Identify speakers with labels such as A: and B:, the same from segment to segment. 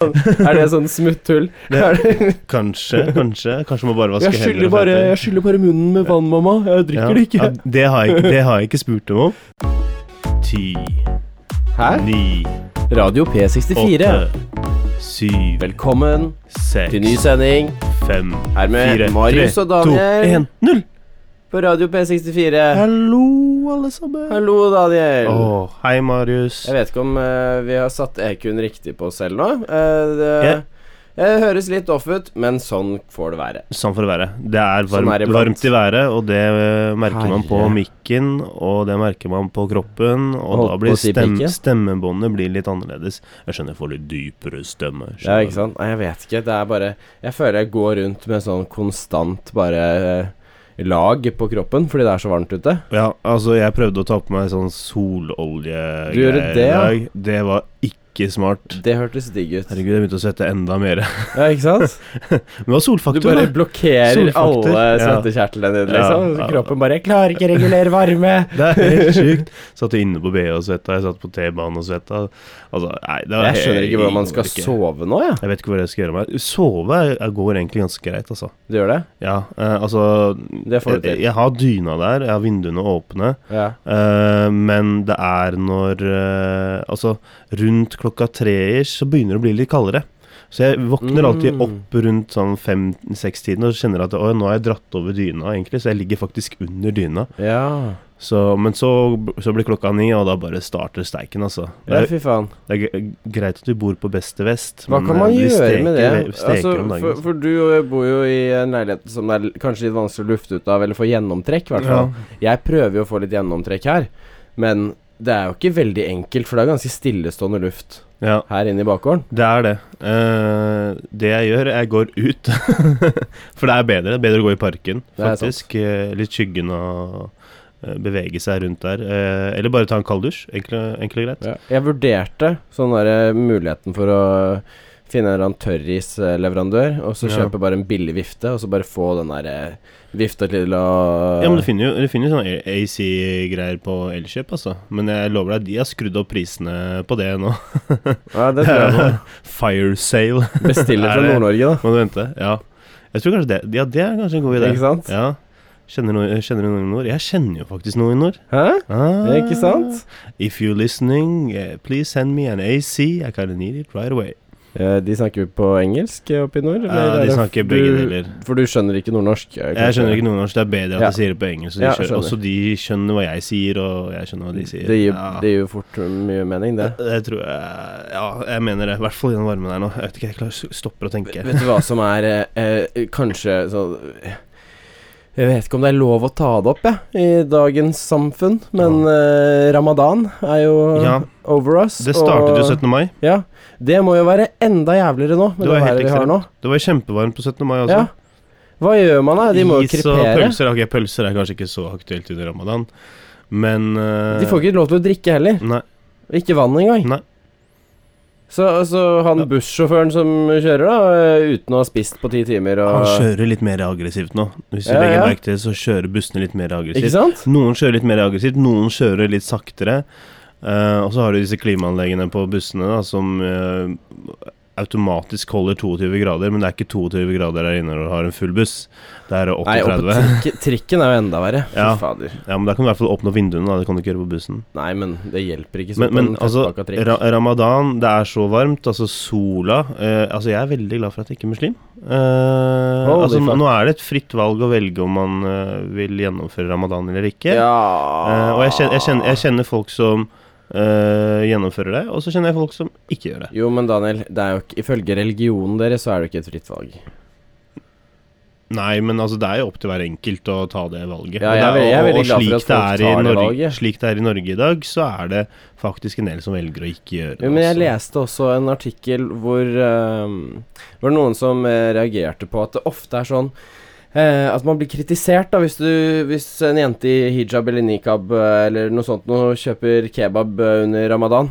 A: Er det sånn smutthull?
B: Det-
A: Er det-
B: Kanskje, kanskje. Kanskje må bare vaske
A: Jeg skyller bare, jeg skyller bare munnen med vann, mamma. Jeg
B: Ja,
A: drikker det ikke.
B: ja, det, har jeg, det har jeg ikke spurt om. Ti,
A: Her?
B: ni,
A: Radio P64.
B: åtte, syv,
A: Velkommen til ny
B: seks,
A: sending
B: fem,
A: her med
B: fire,
A: Marius
B: tre,
A: og Daniel.
B: to, en, null.
A: på Radio P64.
B: Hallo, alle sammen.
A: Hallo, Daniel.
B: Åh, hei, Marius.
A: Jeg vet ikke om eh, vi har satt EQ-en riktig på oss selv nå. Eh, det eh, høres litt off ut, men sånn får det være.
B: Sånn får det være. Det er
A: Sånn
B: varmt,
A: er det iblant.
B: varmt i været, og det eh, merker man på
A: Herre.
B: mikken, og det merker man på kroppen, og
A: Holdt
B: da
A: på å
B: blir
A: si
B: stem,
A: pikken.
B: stemmebåndet blir litt annerledes. Jeg skjønner jeg får litt dypere stemme.
A: Ja, ikke sant? Nei, jeg vet ikke. Det er bare Jeg føler jeg går rundt med sånn konstant bare eh, lag på kroppen fordi det er så varmt ute.
B: Ja, altså, jeg prøvde å ta på meg sånn sololje
A: Du gjorde det, ja?
B: Det var ikke smart.
A: Det hørtes digg ut.
B: Herregud, jeg begynte å svette enda mer.
A: Ja, ikke sant?
B: Men det var
A: Du
B: solfaktor,
A: bare
B: da.
A: blokkerer
B: Solfaktor,
A: alle
B: ja.
A: svettekjertlene dine,
B: Ja,
A: liksom.
B: ja.
A: Kroppen bare 'Jeg klarer ikke regulere varme'.
B: Det er helt sjukt. Satt inne på BH og svetta, jeg satt på T-banen og svetta. Altså, nei, det var
A: Jeg skjønner ikke hvordan man
B: helt
A: skal
B: ikke.
A: sove nå, jeg. Ja.
B: Jeg vet ikke hva jeg skal gjøre med Sove er- er- går egentlig ganske greit, altså.
A: Du gjør det?
B: Ja, eh, altså
A: Det får du
B: jeg,
A: til.
B: jeg har dyna der, jeg har vinduene åpne,
A: Ja.
B: eh, men det er når eh, Altså, rundt klokka tre-ish så begynner det å bli litt kaldere. Så jeg våkner alltid
A: Mm.
B: opp rundt sånn fem-seks-tiden og kjenner at «Oi, nå har jeg dratt over dyna, egentlig, så jeg ligger faktisk under dyna.
A: ja.
B: Så, men så, så blir klokka ni, og da bare starter steiken, altså. Det
A: Ja,
B: er,
A: fy faen.
B: det er g- greit at vi bor på beste vest,
A: Hva
B: men,
A: kan man
B: eh, vi
A: gjøre
B: steker,
A: med
B: vi
A: det?
B: Steker
A: Altså,
B: om dagen, liksom.
A: for, for du eh, bor jo i en leilighet som det er l- kanskje litt vanskelig å lufte ut av, eller få gjennomtrekk, i hvert fall. Jeg prøver jo å få litt gjennomtrekk her, men det er jo ikke veldig enkelt, for det er ganske stillestående luft
B: Ja, ja,
A: her inne i bakgården.
B: det er det. Eh, det jeg gjør, jeg går ut. for det er bedre. Bedre å gå i parken,
A: Det er sant.
B: faktisk. Eh, litt skyggen og eh, bevege seg rundt der. Eh, eller bare ta en kald dusj. Enkelt enkelt og greit.
A: Jeg vurderte sånn derre muligheten for å finne en eller annen tørrisleverandør, og så
B: Ja.
A: kjøpe bare en billig vifte, og så bare få den der eh, vifta til å
B: Ja, men du finner jo, du finner jo sånne AC-greier på Elkjøp, altså. Men jeg lover deg, de har skrudd opp prisene på det nå.
A: Ja, det tror jeg på.
B: Fire sale.
A: Bestille
B: Er
A: fra
B: det-
A: Nord-Norge, da.
B: Må du vente? Ja. Jeg tror kanskje det Ja, det er kanskje en god idé.
A: Ikke sant?
B: Ja. Kjenner, noe, kjenner du noen i nord? Jeg kjenner jo faktisk noen i nord.
A: Hæ?
B: Ah,
A: Eh, Ikke sant?
B: If you're listening, eh, please send me an AC. I kinda need it right away.
A: Eh, De snakker jo på engelsk eh, oppe i nord? eller
B: Ja,
A: er
B: de
A: det-
B: snakker
A: du-
B: begge deler.
A: For du skjønner ikke nordnorsk? eh,
B: Jeg skjønner ikke nordnorsk. Det er bedre at
A: Ja.
B: jeg sier det på engelsk. Og de,
A: Ja,
B: skjønner.
A: skjønner.
B: Også de skjønner hva jeg sier, og jeg skjønner hva de sier.
A: Det gir,
B: ja.
A: det gir jo fort eh, mye mening, det.
B: Det tror jeg Ja, jeg mener det. I hvert fall i den varmen her nå. Jeg vet ikke, jeg klarer, stopper å tenke.
A: Vet du hva som er eh, eh, kanskje sånn eh, Jeg vet ikke om det er lov å ta det opp, jeg, i dagens samfunn, men eh, ramadan er jo
B: Ja.
A: over us.
B: Det startet jo 17. mai.
A: Ja. Det må jo være enda jævligere nå,
B: Det
A: med
B: var
A: det,
B: helt
A: været vi har nå.
B: Det var kjempevarmt på 17. mai også.
A: Ja. Hva gjør man da? De må jo
B: Is og
A: krepere.
B: pølser Ok, pølser er kanskje ikke så aktuelt under ramadan, men eh,
A: De får ikke lov til å drikke heller.
B: Nei.
A: Og Ikke vann engang.
B: Nei.
A: Så, så han
B: Ja.
A: bussjåføren som kjører, da, eh, uten å ha spist på ti timer og
B: Han kjører litt mer aggressivt nå. Hvis du
A: Ja,
B: legger
A: ja.
B: merke til det, så kjører bussene litt mer
A: Ikke
B: aggressivt.
A: sant?
B: Noen kjører litt mer aggressivt, noen kjører litt saktere. Eh, og så har du disse klimaanleggene på bussene da, som eh, automatisk holder 22 grader, men det er ikke 22 grader der inne når du har en full buss. Det er
A: Nei, og på
B: 38.
A: trikken, trikken er jo enda verre. Fy
B: Ja.
A: fader.
B: Ja, men da kan du i hvert fall åpne vinduene, da. Det kan du ikke gjøre på bussen.
A: Nei, men det hjelper ikke.
B: Men,
A: på
B: men
A: en
B: altså,
A: tettpakka trikk.
B: ra ramadan, det er så varmt. Altså, sola eh, Altså, jeg er veldig glad for at jeg ikke er muslim. Eh,
A: Holy
B: altså,
A: fuck.
B: nå er det et fritt valg å velge om man eh, vil gjennomføre ramadan eller ikke. Eh,
A: ja.
B: og jeg kjenner, jeg, kjenner, jeg kjenner folk som eh, gjennomfører det, og så kjenner jeg folk som ikke gjør det.
A: Jo, men Daniel, det er jo ikke, ifølge religionen deres så er det jo ikke et fritt valg.
B: Nei, men altså, det er jo opp til hver enkelt å ta det valget.
A: Ja,
B: Og det
A: jeg er veldig- jeg er
B: og- og
A: veldig glad for
B: slik
A: at folk
B: det er
A: tar
B: i
A: det
B: Norge-
A: valget.
B: Slik det er i Norge i dag, så er det faktisk en del som velger å ikke gjøre det.
A: Jo, men jeg
B: også.
A: leste også en artikkel hvor ehm, var det noen som eh, reagerte på at det ofte er sånn eh, at man blir kritisert da hvis, du, hvis en jente i hijab eller nikab eh, eller noe sånt nå kjøper kebab eh, under ramadan.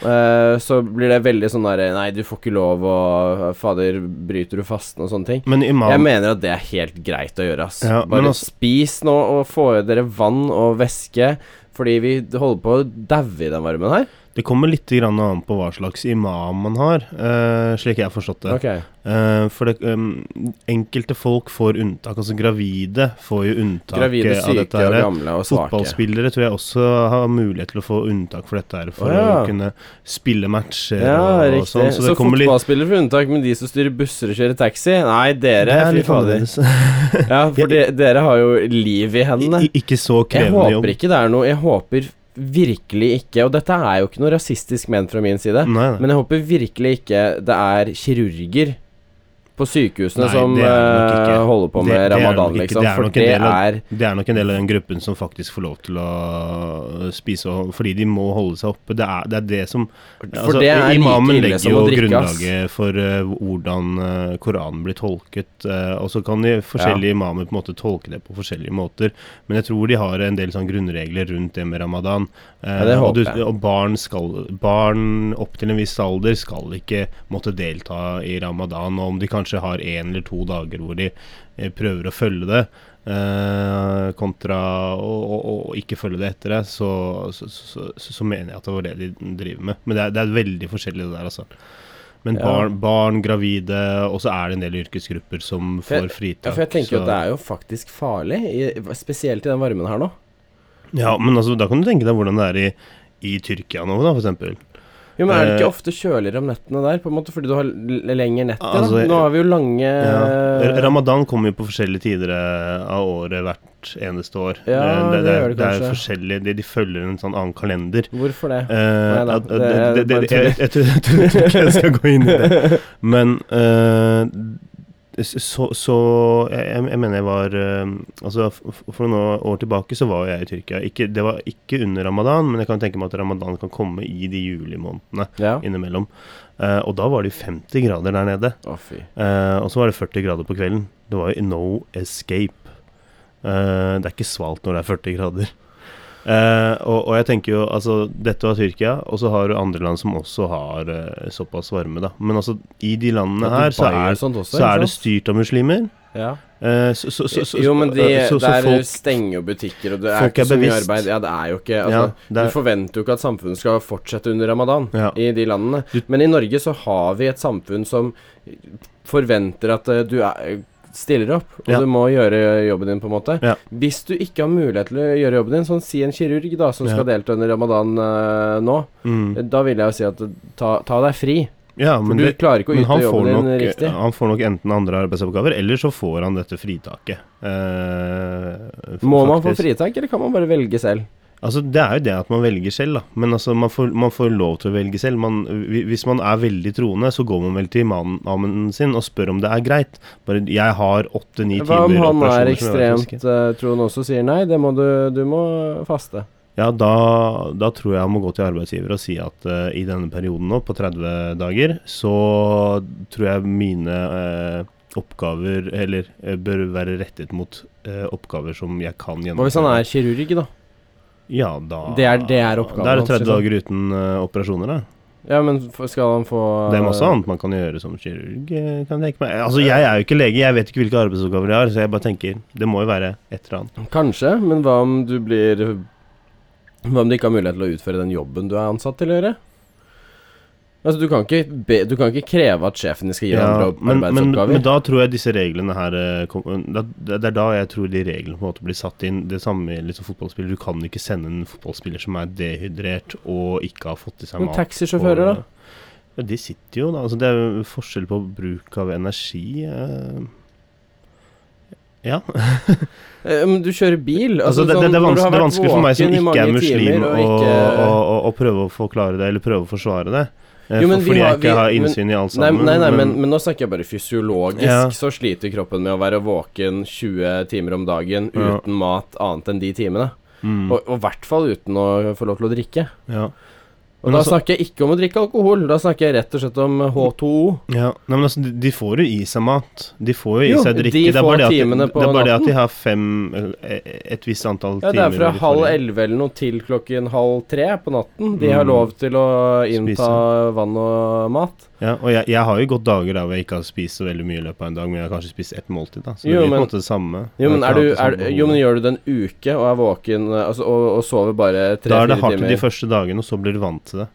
A: eh, så blir det veldig sånn derre Nei, du får ikke lov, og eh, fader, bryter du fasten og sånne ting.
B: men imam,
A: Jeg mener at det er helt greit å gjøre, ass.
B: Ja, men
A: Bare
B: altså-
A: spis nå, og få i dere vann og væske, fordi vi holder på å daue i den varmen her.
B: Det kommer litt grann an på hva slags imam man har, eh, slik jeg har forstått det.
A: Ok.
B: Eh, for det, em, enkelte folk får unntak. Altså gravide får jo unntak
A: Gravide,
B: eh, av
A: syke
B: dette her.
A: og gamle og svake.
B: Fotballspillere tror jeg også har mulighet til å få unntak for dette her, for
A: Å, ja.
B: å kunne spille matcher
A: Ja,
B: og, og
A: riktig.
B: sånn.
A: Så,
B: Så det kommer litt
A: fotballspillere får unntak, men de som styrer busser og kjører taxi Nei,
B: Det
A: dere,
B: er
A: fy
B: litt
A: fader.
B: annerledes.
A: Ja, for de, dere har jo liv i hendene.
B: I- Ikke så
A: Jeg
B: krevende jobb.
A: håper ikke det er noe Jeg håper virkelig ikke Og dette er jo ikke noe rasistisk ment fra min side,
B: Nei, nei.
A: men jeg håper virkelig ikke det er kirurger på sykehusene
B: Nei,
A: som
B: det er det nok
A: eh,
B: ikke.
A: holder på
B: Det-
A: med
B: det er det nok
A: ramadan,
B: ikke.
A: liksom.
B: Det er nok en
A: for det
B: del av-
A: er
B: Det er nok en del av den gruppen som faktisk får lov til å øh, spise og, fordi de må holde seg oppe. Det er det, er det som altså,
A: For det er like
B: Imamen
A: ille
B: legger
A: som
B: jo
A: å drikke, ass.
B: grunnlaget for eh, hvordan eh, Koranen blir tolket, eh, og så kan de forskjellige imamer på en måte tolke det på forskjellige måter. Men jeg tror de har en del sånn grunnregler rundt det med ramadan. Eh,
A: Ja, det
B: og,
A: håper jeg.
B: og barn, skal, barn opp til en viss alder skal ikke måtte delta i ramadan, og om de kanskje har én eller to dager hvor de eh, prøver å følge det, eh, kontra å, å, å ikke følge det etter det, så, så, så, så, så mener jeg at det var det de driver med. Men det er, det er veldig forskjellig det der, altså. Men
A: Ja.
B: barn, barn, gravide, og så er det en del yrkesgrupper som
A: For jeg-
B: får fritak.
A: Ja, for jeg tenker jo
B: så-
A: at det er jo faktisk farlig, i, spesielt i den varmen her nå.
B: Ja, men altså, da kan du tenke deg hvordan det er i, i Tyrkia nå, da, for eksempel.
A: Jo, men er det
B: Eh,
A: ikke ofte kjøligere om nettene der, på en måte, fordi du har l- lengre nett igjen?
B: Altså,
A: nå har vi jo lange Eh,
B: Ja. Ramadan kommer jo på forskjellige tider eh, av året hvert eneste år.
A: Ja,
B: Eh,
A: det
B: er-
A: gjør det
B: det er
A: kanskje.
B: forskjellig, de, de følger en sånn annen kalender.
A: Hvorfor det?
B: Eh,
A: da,
B: at- at-
A: det er
B: det- det-
A: bare tull.
B: Jeg jeg tror jeg tror ikke jeg skal gå inn i det. Men eh, så, så jeg, jeg- jeg mener jeg var eh, Altså, f- f- for noen år tilbake så var jeg i Tyrkia. Ikke, det var ikke under ramadan, men jeg kan tenke meg at ramadan kan komme i de julimånedene
A: Ja.
B: innimellom. Eh, og da var det jo 50 grader der nede.
A: Å, fy.
B: Eh, og så var det 40 grader på kvelden. Det var jo no escape. Eh, det er ikke svalt når det er 40 grader. Eh, og, og jeg tenker jo altså Dette var Tyrkia, og så har du andre land som også har eh, såpass varme, da. Men altså, i de landene her så
A: Dubai og
B: er,
A: sånt også,
B: så
A: ikke
B: er det
A: sant?
B: styrt av muslimer.
A: Ja.
B: Eh, så, så, så, så,
A: jo, men de,
B: eh, så, så
A: der
B: folk,
A: stenger jo butikker, og det er
B: folk
A: ikke
B: er
A: så mye
B: bevisst.
A: arbeid. Ja, det er jo ikke
B: ja,
A: altså,
B: det
A: Du
B: er,
A: forventer jo ikke at samfunnet skal fortsette under ramadan
B: Ja.
A: i de landene.
B: Du-
A: Men i Norge så har vi et samfunn som forventer at eh, du er, stiller opp, og
B: Ja.
A: du må gjøre jobben din, på en måte.
B: Ja.
A: Hvis du ikke har mulighet til å gjøre jobben din, sånn si en kirurg da som
B: Ja.
A: skal delta under ramadan eh, nå,
B: mm,
A: da vil jeg jo si at ta, ta deg fri.
B: ja,
A: For
B: men
A: du
B: det,
A: klarer ikke å
B: Men
A: yte
B: han får,
A: jobben din
B: nok, eh,
A: riktig.
B: han får nok enten andre arbeidsoppgaver, eller så får han dette fritaket. eh, f-
A: Må man få
B: faktisk.
A: fritak, eller kan man bare velge selv?
B: Altså, det er jo det at man velger selv, da. Men altså, man får, man får lov til å velge selv. Man, hvi- hvis man er veldig troende, så går man vel til imamen imamen sin og spør om det er greit. Bare 'jeg har åtte-ni timer
A: Hva om han
B: operasjoner
A: er
B: som jeg har vært friske».
A: ekstremt eh, troende også sier nei, det må du, du må faste.
B: Ja, da, da tror jeg han må gå til arbeidsgiver og si at eh, i denne perioden nå, på 30 dager, så tror jeg mine eh, oppgaver Eller eh, bør være rettet mot eh, oppgaver som jeg kan
A: Hva
B: gjennomføre.
A: hvis han er kirurg, da?
B: Ja, da
A: Det er- det er oppgaven
B: Da er
A: hans,
B: det 30
A: liksom.
B: dager uten eh, operasjoner, da.
A: Ja, men f- skal han få
B: Det er masse annet man kan gjøre som kirurg, eh, kan jeg tenke meg. Altså, jeg er jo ikke lege, jeg vet ikke hvilke arbeidsoppgaver jeg har, så jeg bare tenker det må jo være et eller annet.
A: Kanskje, men hva om du blir Hva om du ikke har mulighet til å utføre den jobben du er ansatt til å gjøre? Altså, du kan ikke, be, du kan ikke kreve at sjefen din skal gi deg andre opp-
B: men, men,
A: arbeidsoppgaver.
B: men da tror jeg disse reglene her eh, kom- da, Det er da jeg tror de reglene på en måte blir satt inn. Det samme med liksom fotballspiller. Du kan ikke sende en fotballspiller som er dehydrert og ikke har fått i seg
A: men,
B: mat.
A: taxisjåfører, da?
B: Ja, de sitter jo da. Altså, det er jo forskjell på bruk av energi. eh. Ja.
A: Eh, Men du kjører bil? sånn
B: Altså, det, det, det, er
A: når du
B: vans
A: har
B: det er
A: vært
B: vanskelig for meg
A: våken
B: som
A: i
B: ikke er
A: mange
B: muslim
A: timer
B: å
A: og ikke-
B: prøve å forklare det, eller prøve å forsvare det. Eh,
A: Jo, men
B: for,
A: vi
B: fordi
A: har-
B: jeg ikke
A: vi-
B: har innsyn i alt
A: Nei,
B: sammen.
A: nei, nei men, men nå snakker jeg bare fysiologisk.
B: Ja.
A: Så sliter kroppen med å være våken 20 timer om dagen
B: Ja.
A: uten mat annet enn de timene.
B: mm,
A: Og og i hvert fall uten å få lov til å drikke.
B: ja.
A: Og
B: Men
A: da
B: altså-
A: snakker jeg ikke om å drikke alkohol, da snakker jeg rett og slett om H2O.
B: Ja, nei, men altså, de- De får jo i seg mat. De får jo i
A: Jo,
B: seg drikke.
A: de
B: det er
A: får
B: bare, det at,
A: timene
B: de,
A: på
B: det er bare det at de
A: natten.
B: har fem eh, Et visst antall
A: Ja, det
B: timer.
A: er fra
B: hvor de får
A: halv
B: i.
A: elleve eller noe til klokken halv tre på natten. De
B: Mm.
A: har lov til å innta
B: Spise.
A: vann og mat.
B: Ja, og jeg, jeg har jo gått dager der hvor jeg ikke har spist så veldig mye i løpet av en dag, men jeg har kanskje spist ett måltid, da. Så det
A: Jo,
B: blir på
A: men-
B: en måte det samme.
A: Jo,
B: Jeg
A: men,
B: har
A: er
B: ikke
A: du,
B: hatt
A: er,
B: det samme
A: jo, men
B: behovet.
A: gjør du det en uke og er våken eh, altså, og, og sover bare
B: da er det
A: tre-fire
B: hardt
A: timer
B: de første dagene, og så blir du vant til det.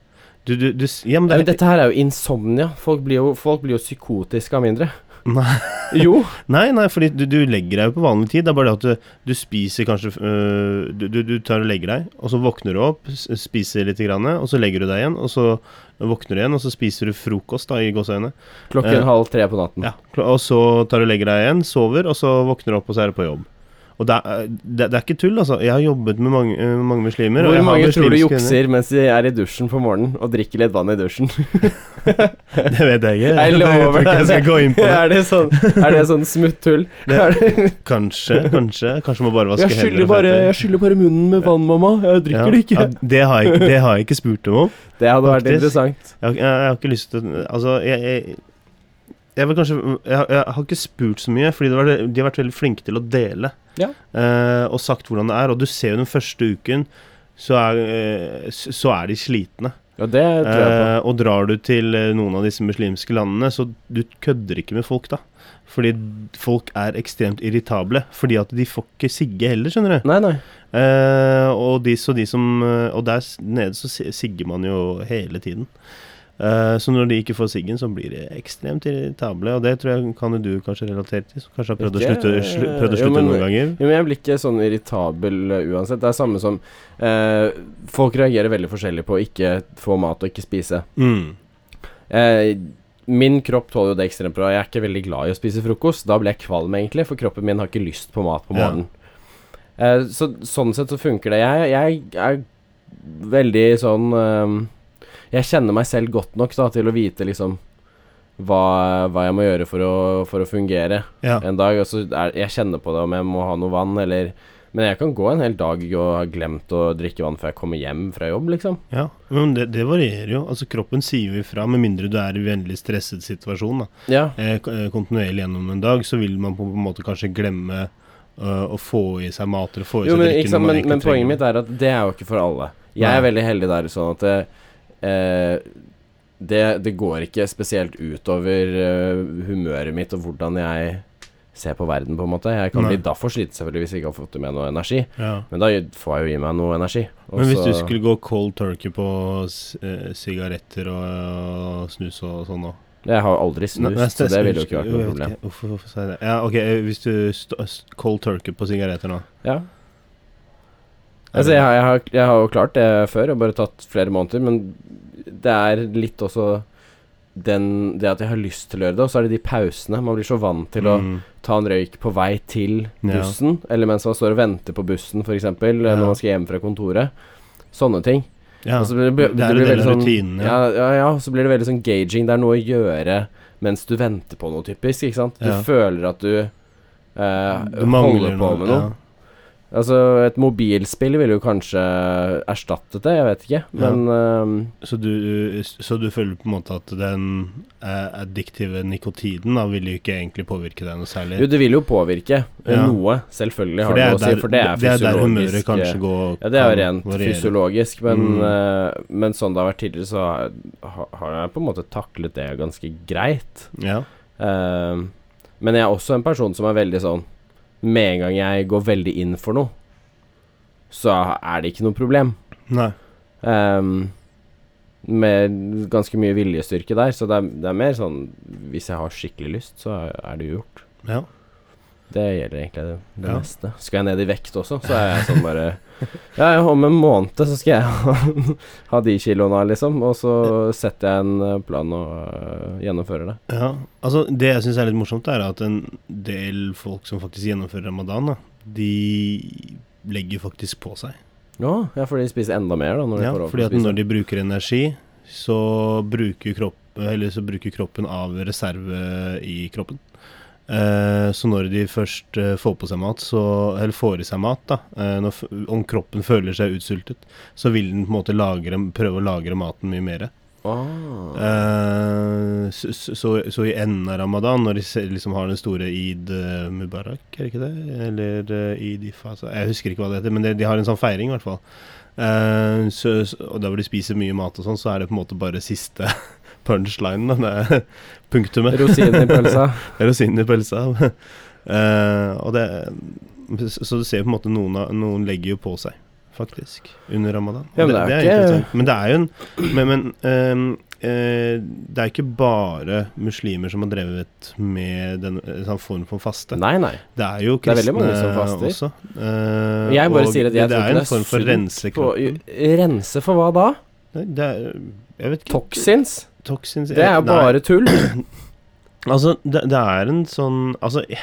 B: Du, du, du, s- ja, men
A: Nei,
B: det
A: men dette her er jo insomnia. Folk blir jo, folk blir jo psykotiske av mindre.
B: Nei,
A: Jo.
B: nei, nei fordi du, du legger deg jo på vanlig tid. Det er bare det at du, du spiser kanskje øh, du, du, du tar og legger deg, og så våkner du opp, s- spiser litt, grann, og så legger du deg igjen, og så våkner du igjen, og så spiser du frokost da, i gåseøynene.
A: Klokken
B: Eh,
A: halv tre på natten.
B: Ja, kl- og så tar du og legger deg igjen, sover, og så våkner du opp, og så er du på jobb. Og det er, det, det er ikke tull, altså. Jeg har jobbet med mange, øh, mange muslimer.
A: Hvor
B: og jeg har
A: mange tror du
B: muslimske venner.
A: jukser mens de er i dusjen på morgenen og drikker litt vann i dusjen?
B: Det vet jeg ikke.
A: Jeg
B: Jeg
A: lover
B: vet ikke
A: deg
B: jeg skal gå inn på det.
A: Er det sånn, er det sånn smutthull?
B: Det-
A: Er det-
B: Kanskje, kanskje. Kanskje man bare vasker
A: Jeg
B: hender
A: skyller
B: og
A: bare,
B: føtter.
A: jeg skyller bare munnen med vann, mamma. Jeg drikker det ikke.
B: Ja, det, har jeg, ikke- det har jeg ikke spurt dem om.
A: Det hadde vært
B: Faktisk.
A: interessant.
B: Jeg, har- jeg, jeg har ikke lyst til Altså, jeg, jeg jeg, vil kanskje, jeg, har- jeg har ikke spurt så mye, fordi det var, de har vært veldig flinke til å dele.
A: Ja.
B: Eh, og sagt hvordan det er. Og du ser jo den første uken, så er, eh, s- så er de slitne.
A: Ja, det tror jeg på.
B: Eh, og drar du til eh, noen av disse muslimske landene, så du kødder ikke med folk, da. Fordi folk er ekstremt irritable. Fordi at de får ikke sigge heller, skjønner du.
A: Nei, nei.
B: Eh, og, de, så de som, eh, og der s- nede så si- sigger man jo hele tiden. Eh, så når de ikke får siggen, så blir de ekstremt irritable. Og det tror jeg kan jo du kanskje relatere til, som kanskje har prøvd å
A: Ikke-
B: slutte, slu, prøvd å
A: jo,
B: slutte
A: men-
B: noen ganger.
A: Jo, men jeg blir ikke sånn irritabel eh, uansett. Det er samme som eh, Folk reagerer veldig forskjellig på å ikke få mat og ikke spise.
B: Mm.
A: Eh, min kropp tåler jo det ekstremt bra. Jeg er ikke veldig glad i å spise frokost. Da blir jeg kvalm, egentlig, for kroppen min har ikke lyst på mat på
B: Ja.
A: morgenen. Eh, så sånn sett så funker det. Jeg, jeg er veldig sånn eh, Jeg kjenner meg selv godt nok da, til å vite liksom hva, hva jeg må gjøre for å, for å fungere
B: Ja.
A: en dag. Og så er, jeg kjenner på det om jeg må ha noe vann, eller Men jeg kan gå en hel dag og ha glemt å drikke vann før jeg kommer hjem fra jobb, liksom.
B: ja. Men det, det varierer jo. Altså Kroppen sier jo ifra, med mindre du er i en veldig stresset situasjon. da
A: Ja.
B: eh, k- eh, kontinuerlig gjennom en dag, så vil man på en måte kanskje glemme eh, å få i seg mat eller få i
A: Jo,
B: seg
A: men,
B: drikke.
A: ikke
B: når
A: sant, men,
B: man egentlig
A: men poenget
B: trenger
A: mitt er at det er jo ikke for alle. Jeg er
B: Nei.
A: veldig heldig der sånn at det, eh, det, det går ikke spesielt utover eh, humøret mitt og hvordan jeg ser på verden, på en måte. Jeg kan
B: Nei.
A: bli da for sliten selvfølgelig hvis jeg ikke har fått i meg noe energi,
B: ja.
A: men da får jeg jo i meg noe energi. og
B: Men hvis
A: så-
B: du skulle gå cold turkey på s- eh, sigaretter og, eh, snus og sånn òg
A: Jeg har aldri snust, så det ville jo ikke vært noe problem.
B: Hvorfor, hvorfor sa jeg det? Ja, ok, eh, hvis du st s- cold turkey på sigaretter nå
A: Ja. Altså, jeg, har- jeg, har, jeg har jo klart det før, og bare tatt flere måneder, men det er litt også den, det at jeg har lyst til å gjøre det, og så er det de pausene. Man blir så vant til å
B: Mm.
A: ta en røyk på vei til
B: Ja.
A: bussen, eller mens man står og venter på bussen, f.eks., eksempel
B: Ja.
A: når man skal hjem fra kontoret. Sånne ting.
B: ja.
A: Og så blir Altså, det,
B: Det er en
A: blir
B: del
A: veldig
B: av
A: sånn-
B: rutinen,
A: Ja,
B: ja.
A: ja, ja, og så blir det veldig sånn gauging. Det er noe å gjøre mens du venter på noe, typisk. Ikke sant? Du
B: Ja.
A: føler at du, eh,
B: Du
A: holder
B: mangler
A: på med noe.
B: ja.
A: Altså, et mobilspill ville jo kanskje erstattet det, jeg vet ikke. Men ehm, øhm,
B: Så, du, eh, så du føler på en måte at den eh, addiktive nikotinen da, vil jo ikke egentlig påvirke deg noe særlig?
A: jo, det vil jo påvirke eh,
B: Ja.
A: noe, selvfølgelig har
B: For det
A: det
B: er
A: noe å si,
B: der,
A: for det er
B: der
A: fysiologisk. eh,
B: humøret kanskje går
A: ja, det er jo
B: kan
A: rent
B: variere.
A: fysiologisk, men,
B: Mm.
A: eh, men sånn det har vært tidligere, så har, har jeg på en måte taklet det ganske greit.
B: Ja.
A: Ehm, men jeg er også en person som er veldig sånn Med en gang jeg går veldig inn for noe, så er det ikke noe problem.
B: Nei.
A: Ehm, med ganske mye viljestyrke der, så det er, det er mer sånn Hvis jeg har skikkelig lyst, så er det jo gjort.
B: Ja.
A: Det gjelder egentlig det, det
B: Ja.
A: meste. Skal jeg ned i vekt også, så er jeg sånn bare Ja, ja, om en måned så skal jeg ha, ha de kiloene her, liksom. Og så setter jeg en eh, plan og øh, gjennomfører det.
B: ja. Altså, det jeg syns er litt morsomt, er at en del folk som faktisk gjennomfører ramadan, da, de legger faktisk på seg.
A: Ja, ja, for de spiser enda mer, da, når de
B: Ja,
A: får lov til
B: fordi
A: å
B: at
A: spise.
B: når de bruker energi, så bruker, kropp, eller så bruker kroppen av reserve i kroppen. Eh, så når de først eh, får på seg mat, så, eller får i seg mat, da, eh, når, f- om kroppen føler seg utsultet, så vil den på en måte lagre, prøve å lagre maten mye mer.
A: Ah.
B: Eh, så, så, så i enden av ramadan, når de se- liksom har den store id eh, mubarak, er det ikke det? Eller eh, id ifa altså, Jeg husker ikke hva det heter, men det, de har en sånn feiring, i hvert fall. Eh, så, så- og der hvor de spiser mye mat og sånn, så er det på en måte bare siste punchline. da, Det er punktumet.
A: Rosinen i pølsa.
B: Rosinen i pølsa. Eh, og det Så du ser på en måte noen, av- noen legger jo på seg faktisk, under ramadan.
A: Ja, men det er ikke-
B: interessant. Men det er jo en Men, men ehm, eh, det er ikke bare muslimer som har drevet med den en sånn form for faste.
A: Nei, nei.
B: Det er jo
A: Det er
B: kristne
A: veldig mange som faster.
B: også. Eh,
A: Jeg bare
B: og
A: sier at jeg
B: det
A: tror
B: er
A: ikke
B: en
A: det er
B: form for
A: sunt
B: rense
A: På,
B: kroppen.
A: rense for hva da?
B: Nei, Det er Jeg vet ikke.
A: Toxins?
B: Toxins
A: Det er jo
B: Nei,
A: bare tull.
B: Altså, det, det er en sånn Altså jeg-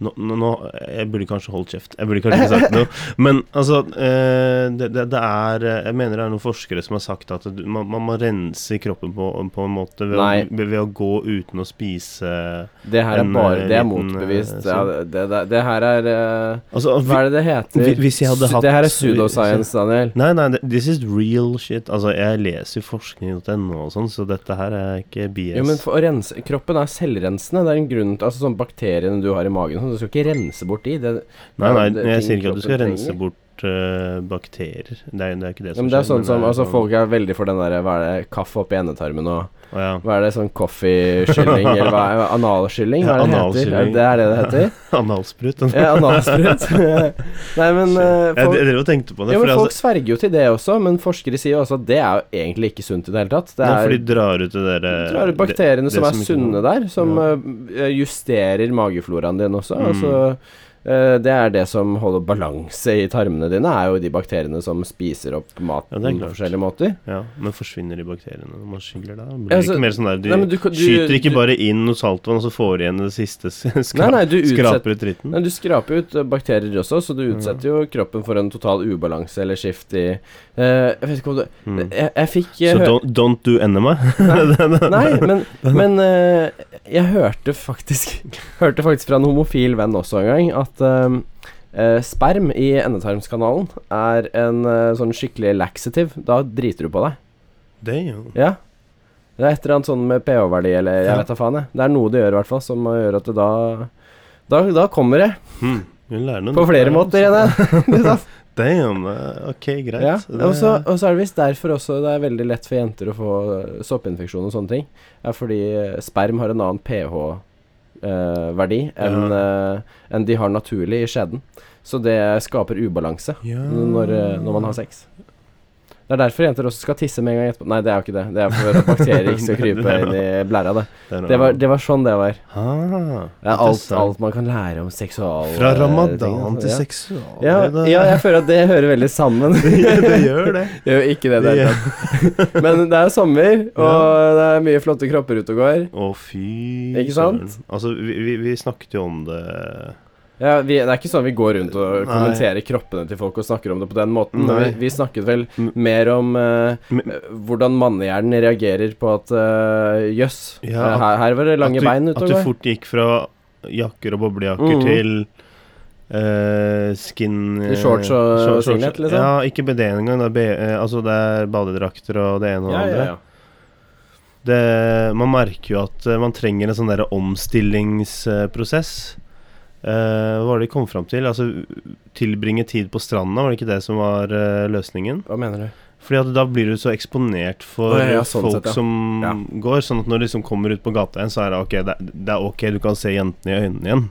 B: nå, nå, nå Jeg burde kanskje holdt kjeft. Jeg burde kanskje ikke sagt noe. Men altså eh, det, det, det er eh, Jeg mener det er noen forskere som har sagt at du, man, man må rense kroppen på, på en måte ved,
A: Nei.
B: å, ved, ved å gå uten å spise
A: Det her er
B: En,
A: bare
B: eh,
A: Det er
B: liten, eh,
A: motbevist. Ja,
B: sånn.
A: det, det, det her er eh,
B: Altså
A: Hva er det det heter?
B: hvi- hvis jeg hadde
A: Su-
B: hatt-
A: det her er pseudoscience, Daniel.
B: Nei, nei, det- this is real shit. Altså, jeg leser jo forskning.no og sånn, så dette her er ikke BS.
A: Jo, men for å rense Kroppen er selvrensende. Det er en grunn til Altså, sånn bakteriene du har i magen og sånn, Du skal ikke rense bort de. Det,
B: nei, nei,
A: det-
B: jeg
A: ting
B: sier ikke at du
A: kroppen
B: skal rense
A: trenger.
B: bort eh, bakterier. Det er, det er ikke det
A: ja,
B: som
A: men det er
B: skjer,
A: sånn som
B: det er
A: Altså,
B: sånn-
A: folk er veldig for den derre Hva er det Kaffe oppi endetarmen og
B: Å, ja.
A: Hva er det? Sånn coffee-skylling? eller hva er analskylling? Hva er det det heter? Ja,
B: Analskylling.
A: det er det det heter?
B: Analsprut.
A: Ja, analsprut. nei, men eh,
B: Jeg,
A: folk-
B: jeg drev og tenkte på det.
A: Jo,
B: for
A: men Folk
B: altså,
A: sverger jo til det også, men forskere sier jo også at det er jo egentlig ikke sunt i det hele tatt. Det
B: nei, for
A: er,
B: de drar ut det der eh,
A: jeg tror det er
B: det-
A: bakteriene som er
B: som ikke-
A: sunne der, som
B: Ja.
A: eh, justerer magefloraen din også.
B: Mm.
A: Altså, eh, det er det som holder balanse i tarmene dine, er jo de bakteriene som spiser opp
B: Ja,
A: maten
B: det er
A: på
B: klart.
A: forskjellige måter.
B: Ja, men forsvinner de bakteriene når man skyller da? Blir
A: Ja,
B: det
A: altså,
B: ikke mer sånn der du,
A: nei, men du kan- du-
B: skyter ikke
A: du-
B: bare inn noe saltvann, og så får du igjen det siste s- skra,
A: Nei, nei, du utsetter
B: Skraper ut dritten?
A: Nei, du skraper ut eh, bakterier også, så du utsetter jo kroppen for en total ubalanse eller skift i eh, Jeg vet ikke om du
B: Mm.
A: Jeg, jeg fikk eh,
B: Så
A: hø-
B: don't, don't do enema?
A: Nei, men, men eh, jeg hørte faktisk Hørte faktisk fra en homofil venn også en gang at eh, eh, sperm i endetarmskanalen er en eh, sånn skikkelig laxative. Da driter du på deg.
B: Det er jo
A: Ja. Det er et eller annet sånn med pH-verdi eller jeg
B: Ja.
A: vet da faen, jeg. Det er noe det gjør i hvert fall som gjør at det da da, da kommer det,
B: hm, Hun lærer noe
A: på
B: nytt
A: flere
B: her,
A: måter.
B: altså.
A: igjen, jeg. Ikke sant?
B: Damn, eh, ok, greit.
A: Ja,
B: Det-
A: og så og så er det visst derfor også det er veldig lett for jenter å få eh, soppinfeksjon og sånne ting. Er fordi eh, sperm har en annen pH-verdi enn eh, enn de har naturlig i skjeden. Så det skaper ubalanse
B: ja.
A: når, eh, når man har sex. Det er derfor jenter også skal tisse med en gang etterpå. Nei, det er jo ikke det. Det er for at bakterier ikke skal krype inn i blæra. Det.
B: Der
A: Det, var, det var sånn det var.
B: ah,
A: Det er alt,
B: interessant.
A: alt man kan lære om seksual...
B: Fra
A: eh, ting,
B: ramadan
A: altså.
B: til
A: Ja.
B: seksual
A: Ja,
B: det-
A: ja, jeg føler at det hører veldig sammen.
B: det, det gjør det.
A: Det gjør ikke det. det
B: Det
A: er klart. Men det er sommer, og det er mye flotte kropper ute og går.
B: Å, fy
A: Ikke sant?
B: søren. Altså, vi, vi, vi snakket jo om det
A: Ja, vi, det er ikke sånn vi går rundt og
B: Nei.
A: kommenterer kroppene til folk og snakker om det på den måten.
B: Nei.
A: Vi, vi snakket vel
B: Mm.
A: mer om eh,
B: Men-
A: hvordan mannehjernen reagerer på at eh, Jøss,
B: Ja,
A: eh, her, her var det lange
B: at du,
A: bein ute
B: At
A: og
B: du
A: går.
B: fort gikk fra jakker og boblejakker
A: Mhm.
B: til eh, skin eh,
A: Til shorts og singlet, liksom?
B: Ja, ikke BD engang. Det er, B, eh, altså det er badedrakter og det ene og
A: Ja,
B: det andre.
A: ja, ja.
B: Det, man merker jo at eh, man trenger en sånn der omstillingsprosess. Eh, hva var det de kom fram til? Altså tilbringe tid på stranda, var det ikke det som var eh, løsningen?
A: Hva mener du?
B: Fordi at da blir du så eksponert for
A: Å, ja, ja, sånn
B: folk
A: sett, ja.
B: som
A: Ja.
B: går, sånn at når du liksom kommer ut på gata igjen, så er det ok, det, er- det er ok, du kan se jentene i øynene igjen.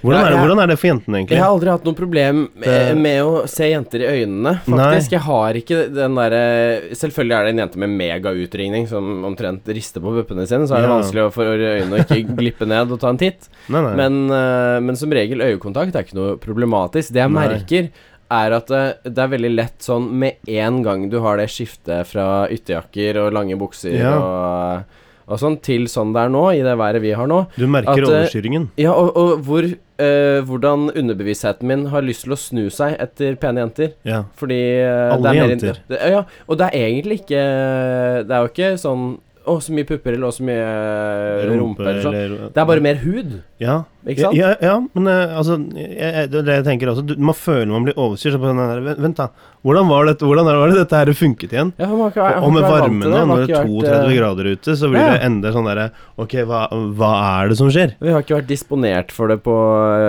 B: Hvordan,
A: Ja,
B: er, det,
A: jeg-
B: hvordan er det for jentene, egentlig?
A: Jeg har aldri hatt noe problem eh,
B: Det-
A: med å se jenter i øynene, faktisk. Jeg har ikke den derre Selvfølgelig er det en jente med megautringning som omtrent rister på puppene sine, så er det
B: Ja.
A: vanskelig å- for øynene å ikke glippe ned og ta en titt.
B: Nei, nei.
A: Men, eh, men som regel, øyekontakt er ikke noe problematisk. Det jeg
B: Nei.
A: merker, er at det, det er veldig lett sånn med en gang du har det skiftet fra ytterjakker og lange bukser
B: Ja.
A: og, og sånn, til sånn det er nå, i det været vi har nå,
B: du merker
A: at, eh,
B: overskyringen.
A: ja, og, og hvor, eh, hvordan underbevisstheten min har lyst til å snu seg etter pene jenter.
B: Ja.
A: Fordi eh,
B: Alle
A: det er mer,
B: jenter.
A: Det, ja, og det er egentlig ikke Det er jo ikke sånn Å, så mye pupper eller å, så mye rumpe, eller sånn. Det er bare mer hud,
B: Ja.
A: ikke sant?
B: Ja, ja, ja men eh, altså jeg, jeg, Det er det jeg tenker også. Du, man føler man blir overstyrt. så bare sånn her, Vent, vent da. Hvordan var, dette, hvordan var det dette her funket igjen?
A: Ja, for man har ikke- man
B: Og
A: har
B: med
A: ikke vært vant
B: varmen
A: til
B: nå,
A: det, man har
B: når det er
A: ikke vært,
B: 32
A: eh,
B: grader ute, så blir
A: Ja.
B: det enda sånn derre Ok, hva, hva er det som skjer?
A: Vi har ikke vært disponert for det på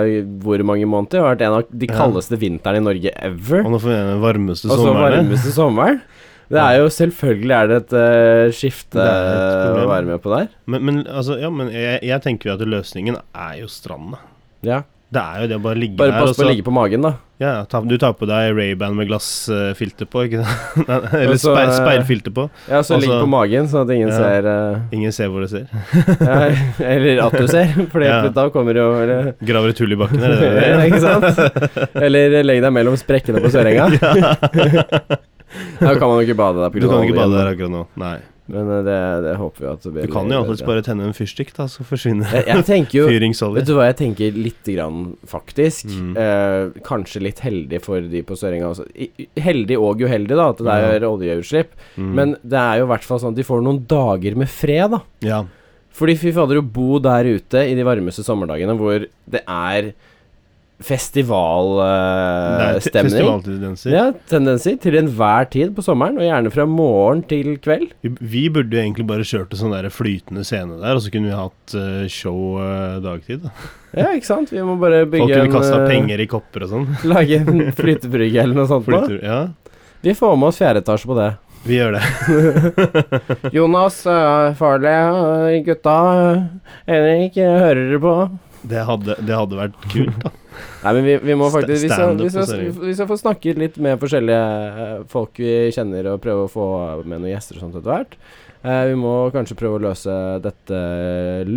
A: eh, hvor mange måneder. Det har vært en av de
B: Ja.
A: kaldeste vintrene i Norge ever.
B: Og nå får vi den varmeste
A: Og så
B: sommeren.
A: Altså varmeste sommeren. Det er jo selvfølgelig er det et eh, skifte
B: Det er et
A: å
B: problem.
A: være med på der.
B: Men, men altså, ja, men jeg, jeg tenker jo at løsningen er jo stranda.
A: Ja.
B: Det er jo det å bare ligge
A: Bare
B: der og
A: pass på
B: så
A: å ligge på magen, da.
B: ja, ta, Du tar på deg Ray-Ban med glassfilter på, ikke sant? Eller
A: Og så,
B: speil,
A: eh,
B: speilfilter på.
A: Ja, så
B: Altså-
A: ligg på magen, sånn at ingen
B: Ja.
A: ser eh,
B: Ingen ser hvor det ser.
A: ja, Eller at du ser, for
B: Ja.
A: da kommer eh, jo eller,
B: Graver et hull i bakken, er det det?
A: Ja, Ikke sant? Eller legg deg mellom sprekkene på Sørenga. Da kan man jo ikke bade der. på
B: Du
A: grunn
B: kan
A: av
B: ikke bade
A: oljen,
B: der akkurat nå. Nei.
A: Men eh, det, det håper vi at det
B: Du
A: blir
B: kan jo alltids
A: bedre.
B: bare tenne en fyrstikk, da, så forsvinner
A: jeg, jeg tenker jo Vet
B: fyringsolje.
A: du hva jeg tenker lite grann, faktisk?
B: Mm.
A: Eh, kanskje litt heldig for de på Sørenga også. I- i- Heldig og uheldig, da, at det er oljeutslipp.
B: Mm.
A: Men det er jo i hvert fall sånn at de får noen dager med fred, da.
B: ja.
A: Fordi fy fader, å bo der ute i de varmeste sommerdagene hvor det er
B: Det er te-
A: festivalstemning
B: festivaltendenser.
A: eh, ja, tendenser til enhver tid på sommeren, og gjerne fra morgen til kveld.
B: Vi, vi burde jo egentlig bare kjørt en sånn der flytende scene der, og så kunne vi hatt eh, show eh, dagtid. Da.
A: Ja, ikke sant? Vi må bare
B: Folk
A: bygge
B: kunne kasta
A: eh,
B: penger i kopper og sånn.
A: Lage en flytebrygge eller noe sånt. på.
B: Flyter- Ja,
A: Vi får med oss fjerde etasje på det.
B: vi gjør det.
A: Jonas, uh, farlig, eh, gutta, eh, Henrik, eh, hører dere på?
B: Det hadde, det hadde vært kult, da.
A: Nei, men vi, vi må
B: Sta-
A: faktisk Vi skal, vi,
B: stand-up på
A: skal,
B: serien.
A: vi skal få snakket litt med forskjellige eh, folk vi kjenner, og prøve å få med noen gjester og sånt etter hvert. Eh, vi må kanskje prøve å løse dette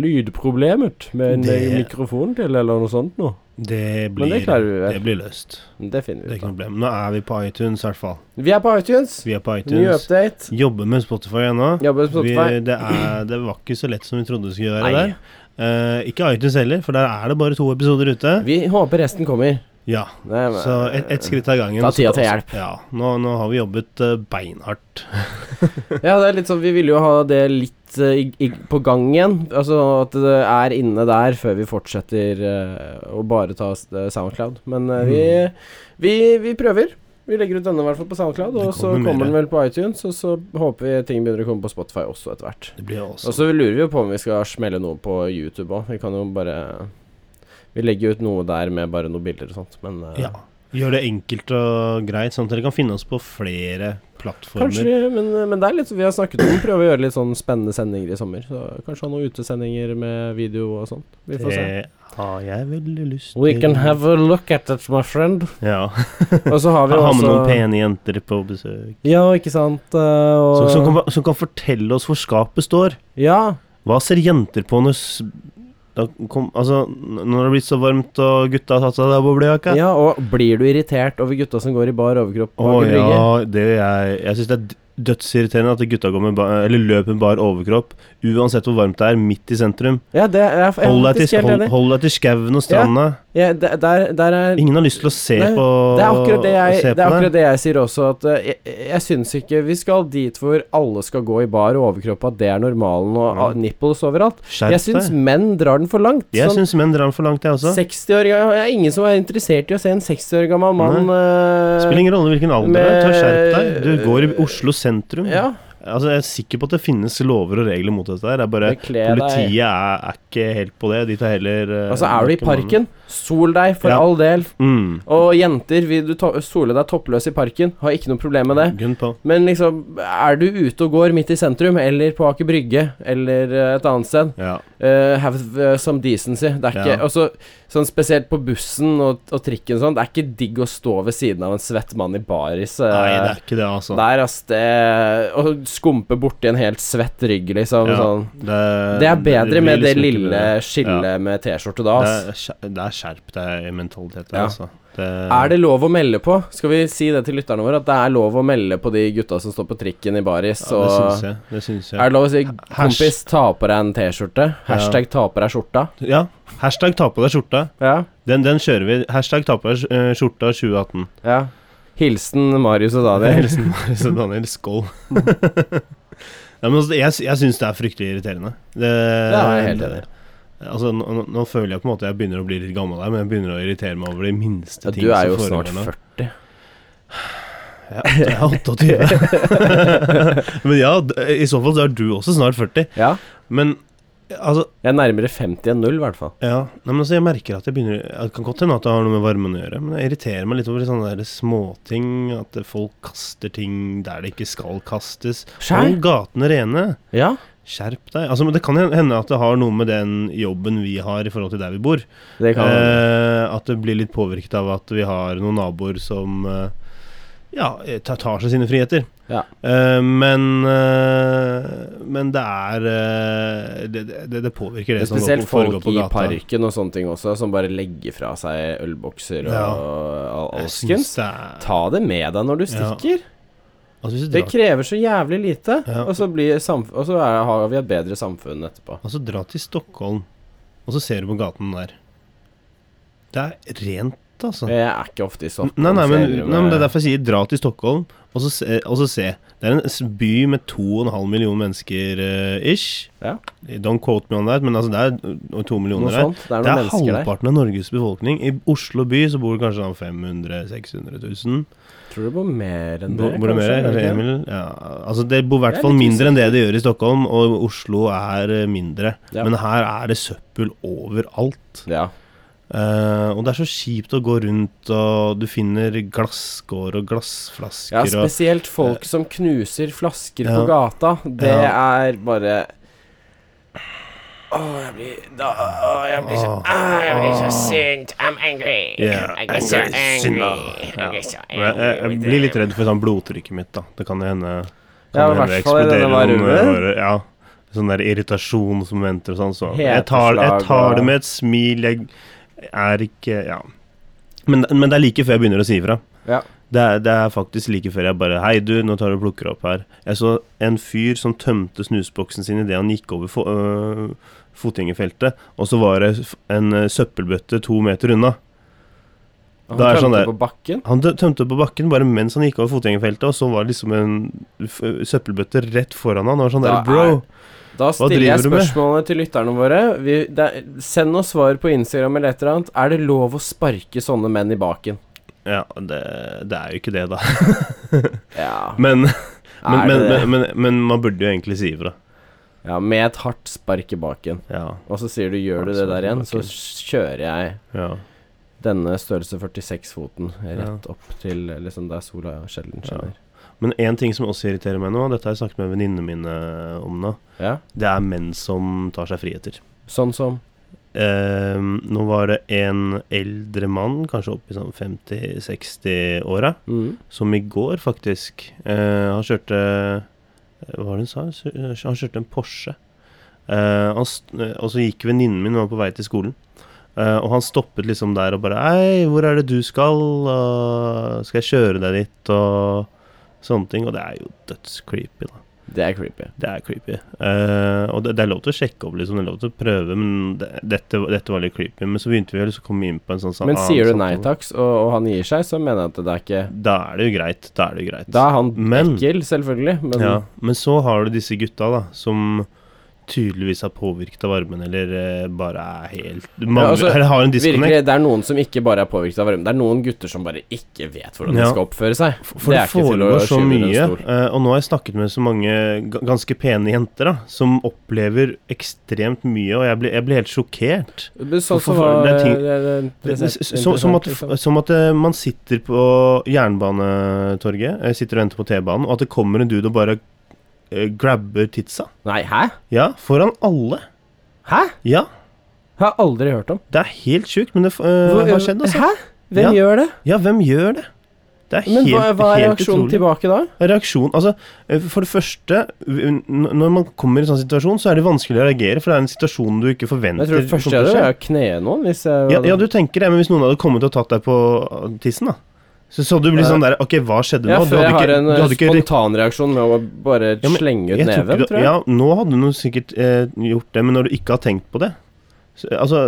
A: lydproblemet med en
B: Det-
A: eh, mikrofon til, eller noe sånt noe.
B: Det
A: Men
B: blir,
A: det klarer vi vel.
B: det blir løst.
A: Det finner
B: Det er
A: vi
B: ikke
A: ut
B: noe
A: av.
B: problem. Nå er vi på iTunes, i hvert fall.
A: Vi er på iTunes.
B: Vi er på
A: Ny
B: iTunes.
A: update.
B: Jobber med Spotify ennå.
A: Jobber på
B: Vi,
A: Spotify.
B: det, er, det var ikke så lett som vi trodde det skulle være
A: Nei.
B: der. Eh, ikke iTunes heller, for der er det bare to episoder ute.
A: Vi håper resten kommer.
B: Ja,
A: Det er-
B: Så ett et skritt av gangen.
A: Ta tida til
B: Så-
A: hjelp.
B: Ja, nå, nå har vi jobbet eh, beinhardt.
A: Ja, det er litt sånn Vi ville jo ha det litt eh, i, i, på gang igjen. Altså at det er inne der før vi fortsetter eh, å bare ta s- eh, Soundcloud. Men eh, vi,
B: Mm.
A: vi, vi prøver. Vi legger ut denne i hvert fall på Soundcloud,
B: Det
A: og så
B: kommer mer.
A: kommer den vel på iTunes. Og så håper vi ting begynner å komme på Spotify også etter hvert.
B: Det blir
A: Og
B: også
A: så lurer vi jo på om vi skal smelle noe på YouTube òg. Vi kan jo bare Vi legger ut noe der med bare noen bilder og sånt, men eh,
B: Ja. Gjør det enkelt og greit, sånn at dere kan finne oss på flere plattformer.
A: Kanskje, vi- men, men det er litt, vi har snakket om å prøve å gjøre litt sånn spennende sendinger i sommer. Så kanskje ha noen utesendinger med video og sånt. Vi får se.
B: det har jeg veldig lyst
A: Eh, We can have a look at it, my friend.
B: Ja.
A: Og så har vi
B: Ha
A: jo
B: med noen
A: også
B: pene jenter på besøk.
A: Ja, ikke sant? eh, Og,
B: Som, som, kan, som kan fortelle oss hvor skapet står.
A: Ja.
B: Hva ser jenter på når s- da kom, altså, n- når det har blitt så varmt og gutta har tatt seg av boblejakka?
A: ja, og blir du irritert over gutta som går i bar overkropp
B: Å
A: bak en brygge?
B: ja, det er, jeg syns det er d- dødsirriterende at gutta går med ba, eller løper med bar overkropp, uansett hvor varmt det er, midt i sentrum.
A: Ja, det er jeg er
B: Hold deg
A: faktisk
B: til,
A: helt
B: hold,
A: enig.
B: hold deg til skauen og stranda.
A: Ja, der, der, der er
B: Ingen har lyst til å se
A: Nei,
B: på
A: Det er akkurat det jeg,
B: se
A: det, er
B: på
A: akkurat det jeg sier også, at eh, jeg, jeg syns ikke vi skal dit hvor alle skal gå i bar og overkropp, at det er normalen, og
B: Ja.
A: ah, nipples overalt. Jeg
B: Skjerp
A: syns
B: deg.
A: menn drar den for langt.
B: Jeg
A: Sånn
B: syns menn drar den for langt, jeg også.
A: 60 år, ga- det er ingen som er interessert i å se en 60 år gammel mann eh,
B: Spiller ingen rolle hvilken alder du er, ta skjerp deg. Du går i
A: med-
B: Oslo sentrum.
A: Eh, ja,
B: Altså, jeg er sikker på at det finnes lover og regler mot dette her. Det er bare
A: Bekle deg.
B: Politiet er, er ikke helt på det. De tar heller eh,
A: Altså, er du i
B: narkomane.
A: parken, sol deg, for
B: Ja.
A: all del.
B: Mm.
A: Og jenter, vil du to sole deg toppløs i parken, har ikke noe problem med det.
B: Gunn på.
A: Men liksom, er du ute og går midt i sentrum, eller på Aker Brygge, eller eh, et annet sted,
B: Ja.
A: eh, have eh, some decency. Det er ikke
B: Ja.
A: også, sånn Spesielt på bussen og, og trikken og sånn, det er ikke digg å stå ved siden av en svett mann i baris. eh,
B: Nei, det er ikke det, altså.
A: der, ass, det Å skumpe borti en helt svett rygg, liksom.
B: Ja, Eh,
A: Sånn.
B: det,
A: Det er bedre
B: blir
A: med det
B: liksom ikke
A: lille
B: bedre.
A: skillet med T-skjorte da,
B: Det
A: ass.
B: er, skjer- det er skjerp deg-mentalitet der,
A: Ja.
B: altså. Det,
A: Er det lov å melde på? Skal vi si det til lytterne våre? At det er lov å melde på de gutta som står på trikken i baris?
B: ja, Det
A: og-
B: syns jeg. Det syns
A: Er
B: jeg.
A: det lov å si
B: Hasht-
A: 'kompis, ta på deg en T-skjorte'? Hashtag 'ta på deg skjorta'?
B: Ja. Hashtag ta på deg skjorta.
A: Ja.
B: Den, den kjører vi. Hashtag ta på deg eh, skjorta 2018.
A: ja. Hilsen Marius og Daniel.
B: Hilsen Marius og Daniel. Skål.
A: Mm.
B: Nei, men altså, jeg jeg syns det er fryktelig irriterende. Det,
A: Det er jeg helt enig i.
B: Altså, nå, nå- nå føler jeg på en måte jeg begynner å bli litt gammel her, men jeg begynner å irritere meg over de minste
A: Ja,
B: ting
A: du er jo
B: som
A: snart
B: foregår nå.
A: 40.
B: Jeg er 28. men ja, d- i så fall så er du også snart 40.
A: Ja.
B: Men altså
A: Jeg er nærmere 50 enn null, i hvert fall.
B: Ja, nei, men altså, jeg merker at jeg begynner Det kan godt hende at det har noe med varmen å gjøre, men jeg irriterer meg litt over sånne der småting. At folk kaster ting der det ikke skal kastes. Hold gatene rene.
A: Ja.
B: Skjerp deg. Altså, men det kan hende at det har noe med den jobben vi har i forhold til der vi bor.
A: Det kan
B: Eh, at det blir litt påvirket av at vi har noen naboer som eh, ja, tar, tar seg sine friheter.
A: Ja.
B: Eh, men eh, men det er eh, det, det, det påvirker det, sånn som går
A: Spesielt
B: på- foregår
A: folk
B: på
A: i
B: gata.
A: parken og sånne ting også, som bare legger fra seg ølbokser og
B: Ja.
A: al-
B: Jeg
A: alskens.
B: synes det er-
A: Ta det med deg når du
B: Ja.
A: stikker.
B: altså, hvis du
A: Det
B: drar, krever
A: krever så jævlig lite,
B: Ja.
A: og så, blir samf og så er, har vi et bedre samfunn etterpå.
B: Altså, dra til Stockholm, og så ser du på gaten der. Det er rent, altså.
A: Jeg er ikke ofte i
B: Nei,
A: Stockholm.
B: nei, men,
A: ser du,
B: nei, men Det er
A: men-
B: derfor jeg sier dra til Stockholm, og så, se, og så se. Det er en s- by med 2,5 millioner mennesker eh, ish.
A: Ja.
B: Don't quote me on that, men altså det er eh, to
A: noe
B: millioner der.
A: sånt. Det er noen
B: Det er
A: mennesker der.
B: halvparten av Norges befolkning. I Oslo by så bor det kanskje sånn 500 000-600 000.
A: Tror du det bor mer enn det?
B: Bor, bor det mer?
A: kanskje?
B: Kanskje Emil? Ja. Altså, det bor i
A: Jeg
B: hvert
A: er
B: fall
A: litt
B: mindre enn det det gjør i Stockholm, og Oslo er eh, mindre.
A: Ja.
B: Men her er det søppel overalt.
A: Ja.
B: Eh, og det er så kjipt å gå rundt, og du finner glasskår og glassflasker
A: ja,
B: og
A: spesielt folk som knuser flasker
B: Ja.
A: på gata. Det
B: Ja.
A: er bare Åh, jeg blir da, åh, jeg blir så
B: Åh.
C: Oh, I'm so sint. I'm angry.
B: Yeah.
C: I get so
B: I'm
C: angry. uh,
B: sinner.
C: I get so
B: Men jeg,
C: angry.
B: jeg, jeg
C: with
B: blir litt
C: them.
B: redd for sånn blodtrykket mitt, da. Det kan jo hende
A: Ja, i
B: kan hende
A: hvert fall i denne
B: eksploderer noen
A: varulven.
B: åre- Ja, sånn der irritasjonsmomenter og sånn. Så jeg tar,
A: Heteslag
B: jeg tar det
A: og-
B: med et smil. Jeg er ikke Ja. Men, men det er like før jeg begynner å si ifra.
A: Ja.
B: Det er, det er faktisk like før jeg bare Hei, du, nå tar du og plukker opp her. Jeg så en fyr som tømte snusboksen sin idet han gikk over fo øh, fotgjengerfeltet, og så var det f- en øh, søppelbøtte to meter unna.
A: Han
B: Det er sånn
A: tømte
B: der-
A: på bakken.
B: Han tø- tømte på bakken bare mens han gikk over fotgjengerfeltet, og så var det liksom en f søppelbøtte rett foran han. Og sånn
A: Da
B: der, bro
A: Da stiller
B: driver
A: jeg
B: du med?
A: spørsmålene til lytterne våre. Vi, det, er- send oss svar på Instagram eller et eller annet. Er det lov å sparke sånne menn i baken?
B: Ja, det, det er jo ikke det, da.
A: Ja,
B: Men, men,
A: er
B: men,
A: det det?
B: men, men, men man burde jo egentlig si ifra.
A: ja, med et hardt spark i baken.
B: Ja,
A: Og så sier du 'gjør du det der igjen', så kjører jeg
B: ja.
A: denne størrelse 46-foten rett opp til liksom der sola sjelden skinner.
B: Men én ting som også irriterer meg nå, og dette har jeg snakket med venninnene mine om nå,
A: Ja.
B: det er menn som tar seg friheter.
A: Sånn som
B: Eh, nå var det en eldre mann, kanskje opp i sånn 50-60-åra,
A: mm.
B: Som i går, faktisk. Eh, han kjørte eh, Hva var det hun sa? Kjø- eh, Han kjørte en Porsche. Eh, han st eh, og så gikk venninnen min og var på vei til skolen. Eh, og han stoppet liksom der og bare Hei, hvor er det du skal? Og skal jeg kjøre deg dit? Og sånne ting. Og det er jo dødscreepy, da.
A: Det er creepy.
B: Det er creepy. Eh, og det, det er lov til å sjekke opp, liksom. Det er lov til å prøve, men det, dette, dette var litt creepy. Men så begynte vi å liksom komme inn på en sånn sa-
A: Men
B: annen
A: sier du nei
B: samtale.
A: takk, og, og han gir seg, så mener jeg at det er ikke
B: Da er det jo greit. Da er det jo greit.
A: Da er han
B: Men-
A: ekkel, selvfølgelig, men
B: Mm. Ja, men så har du disse gutta da Som tydeligvis er påvirket av varmen Eller eh, bare er helt mangler,
A: altså,
B: Eller har en disconnect
A: Virkelig, det er noen som ikke bare er påvirket av varme. Det er noen gutter som bare ikke vet hvordan de
B: Ja.
A: skal oppføre seg.
B: For det,
A: til å
B: foregår så
A: skyve under en
B: mye
A: stol.
B: eh, Og nå har jeg snakket med så mange ga- Ganske pene jenter da Som opplever ekstremt mye Og jeg blir, jeg blir helt sjokkert
A: Men Sånn som
B: For- for-
A: var
B: det er ting-
A: det er
B: Det- det-
A: interessant-
B: som, som, at,
A: interessant, liksom.
B: som at eh, man sitter på jernbanetorget eh, Sitter og venter på T-banen Og at det kommer en dude og bare eh, Grabber titsa
A: Nei, hæ?
B: Ja, foran alle
A: Hæ?
B: Ja,
A: Har jeg aldri hørt om.
B: det er helt sjukt Men det eh, har skjedd altså
A: Hæ? Hvem
B: Ja.
A: gjør det?
B: Ja, hvem gjør det? Det er
A: Men
B: helt,
A: hva, hva er
B: helt
A: reaksjonen
B: utrolig.
A: tilbake da?
B: Reaksjon, altså, eh, For det første, n- når man kommer i en sånn situasjon, så er det vanskelig å reagere, for det er en situasjon du ikke forventer.
A: Jeg tror det første jeg
B: kommer til
A: gjør,
B: å
A: er
B: skje.
A: å kne noen. Hvis jeg
B: ja, ja, du tenker det, men hvis noen hadde kommet og tatt deg på tissen, da Så så hadde du blitt
A: Ja.
B: sånn der Ok, hva skjedde
A: ja,
B: nå? Du
A: før
B: hadde
A: jeg har
B: ikke-
A: en
B: du
A: eh,
B: hadde ikke rekt-
A: spontanreaksjon med å bare
B: Ja, men
A: slenge ut
B: Jeg tror ikke
A: neven,
B: du-
A: tror jeg.
B: Ja, nå hadde du sikkert eh, gjort det, men når du ikke har tenkt på det så, Altså,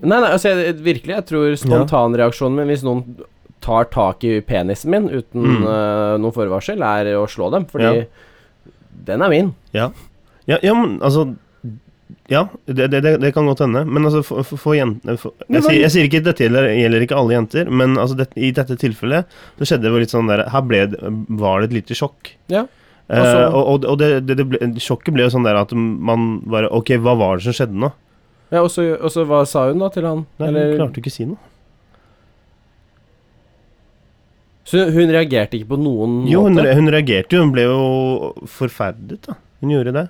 A: Nei, nei, altså jeg, virkelig, jeg tror spontanreaksjonen min hvis noen tar tak i penisen min uten
B: Mm.
A: eh, noe forvarsel, er å slå dem, fordi
B: Ja.
A: den er min.
B: ja, ja men altså ja, det, det, det det kan godt hende, men altså for, for, for jentene for,
A: Men
B: jeg,
A: hva-
B: sier, jeg sier ikke dette gjelder, gjelder ikke alle jenter, men altså det, i dette tilfellet så skjedde det jo litt sånn der Her ble, det- var det et lite sjokk.
A: Ja.
B: Eh,
A: Altså-
B: og og, og det, det, det ble, sjokket ble jo sånn der at man bare Ok, hva var det som skjedde nå?
A: Ja, og så og så hva sa hun da til han?
B: Nei,
A: Eller-
B: Hun klarte jo ikke å si noe.
A: Så hun reagerte ikke på noen
B: Jo, hun,
A: måte?
B: re- hun reagerte jo. Hun ble jo forferdet, da. Hun gjorde det.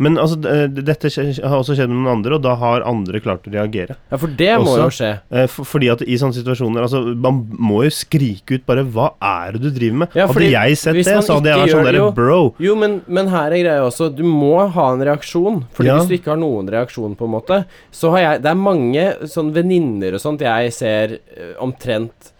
B: Men altså, d- dette skje- har også skjedd med noen andre, og da har andre klart å reagere.
A: Ja, for det må
B: Også-
A: jo skje.
B: Eh, for- Fordi at i sånne situasjoner Altså, man må jo skrike ut bare 'Hva er det du driver med?'
A: Ja,
B: hadde
A: fordi
B: jeg sett det,
A: hvis man
B: så hadde jeg
A: ikke
B: vært
A: gjør
B: sånn
A: det
B: derre
A: jo-
B: 'Bro'.
A: Jo, men, men her er greia også. Du må ha en reaksjon. Fordi
B: Ja.
A: hvis du ikke har noen reaksjon, på en måte, så har jeg Det er mange sånn venninner og sånt jeg ser eh, omtrent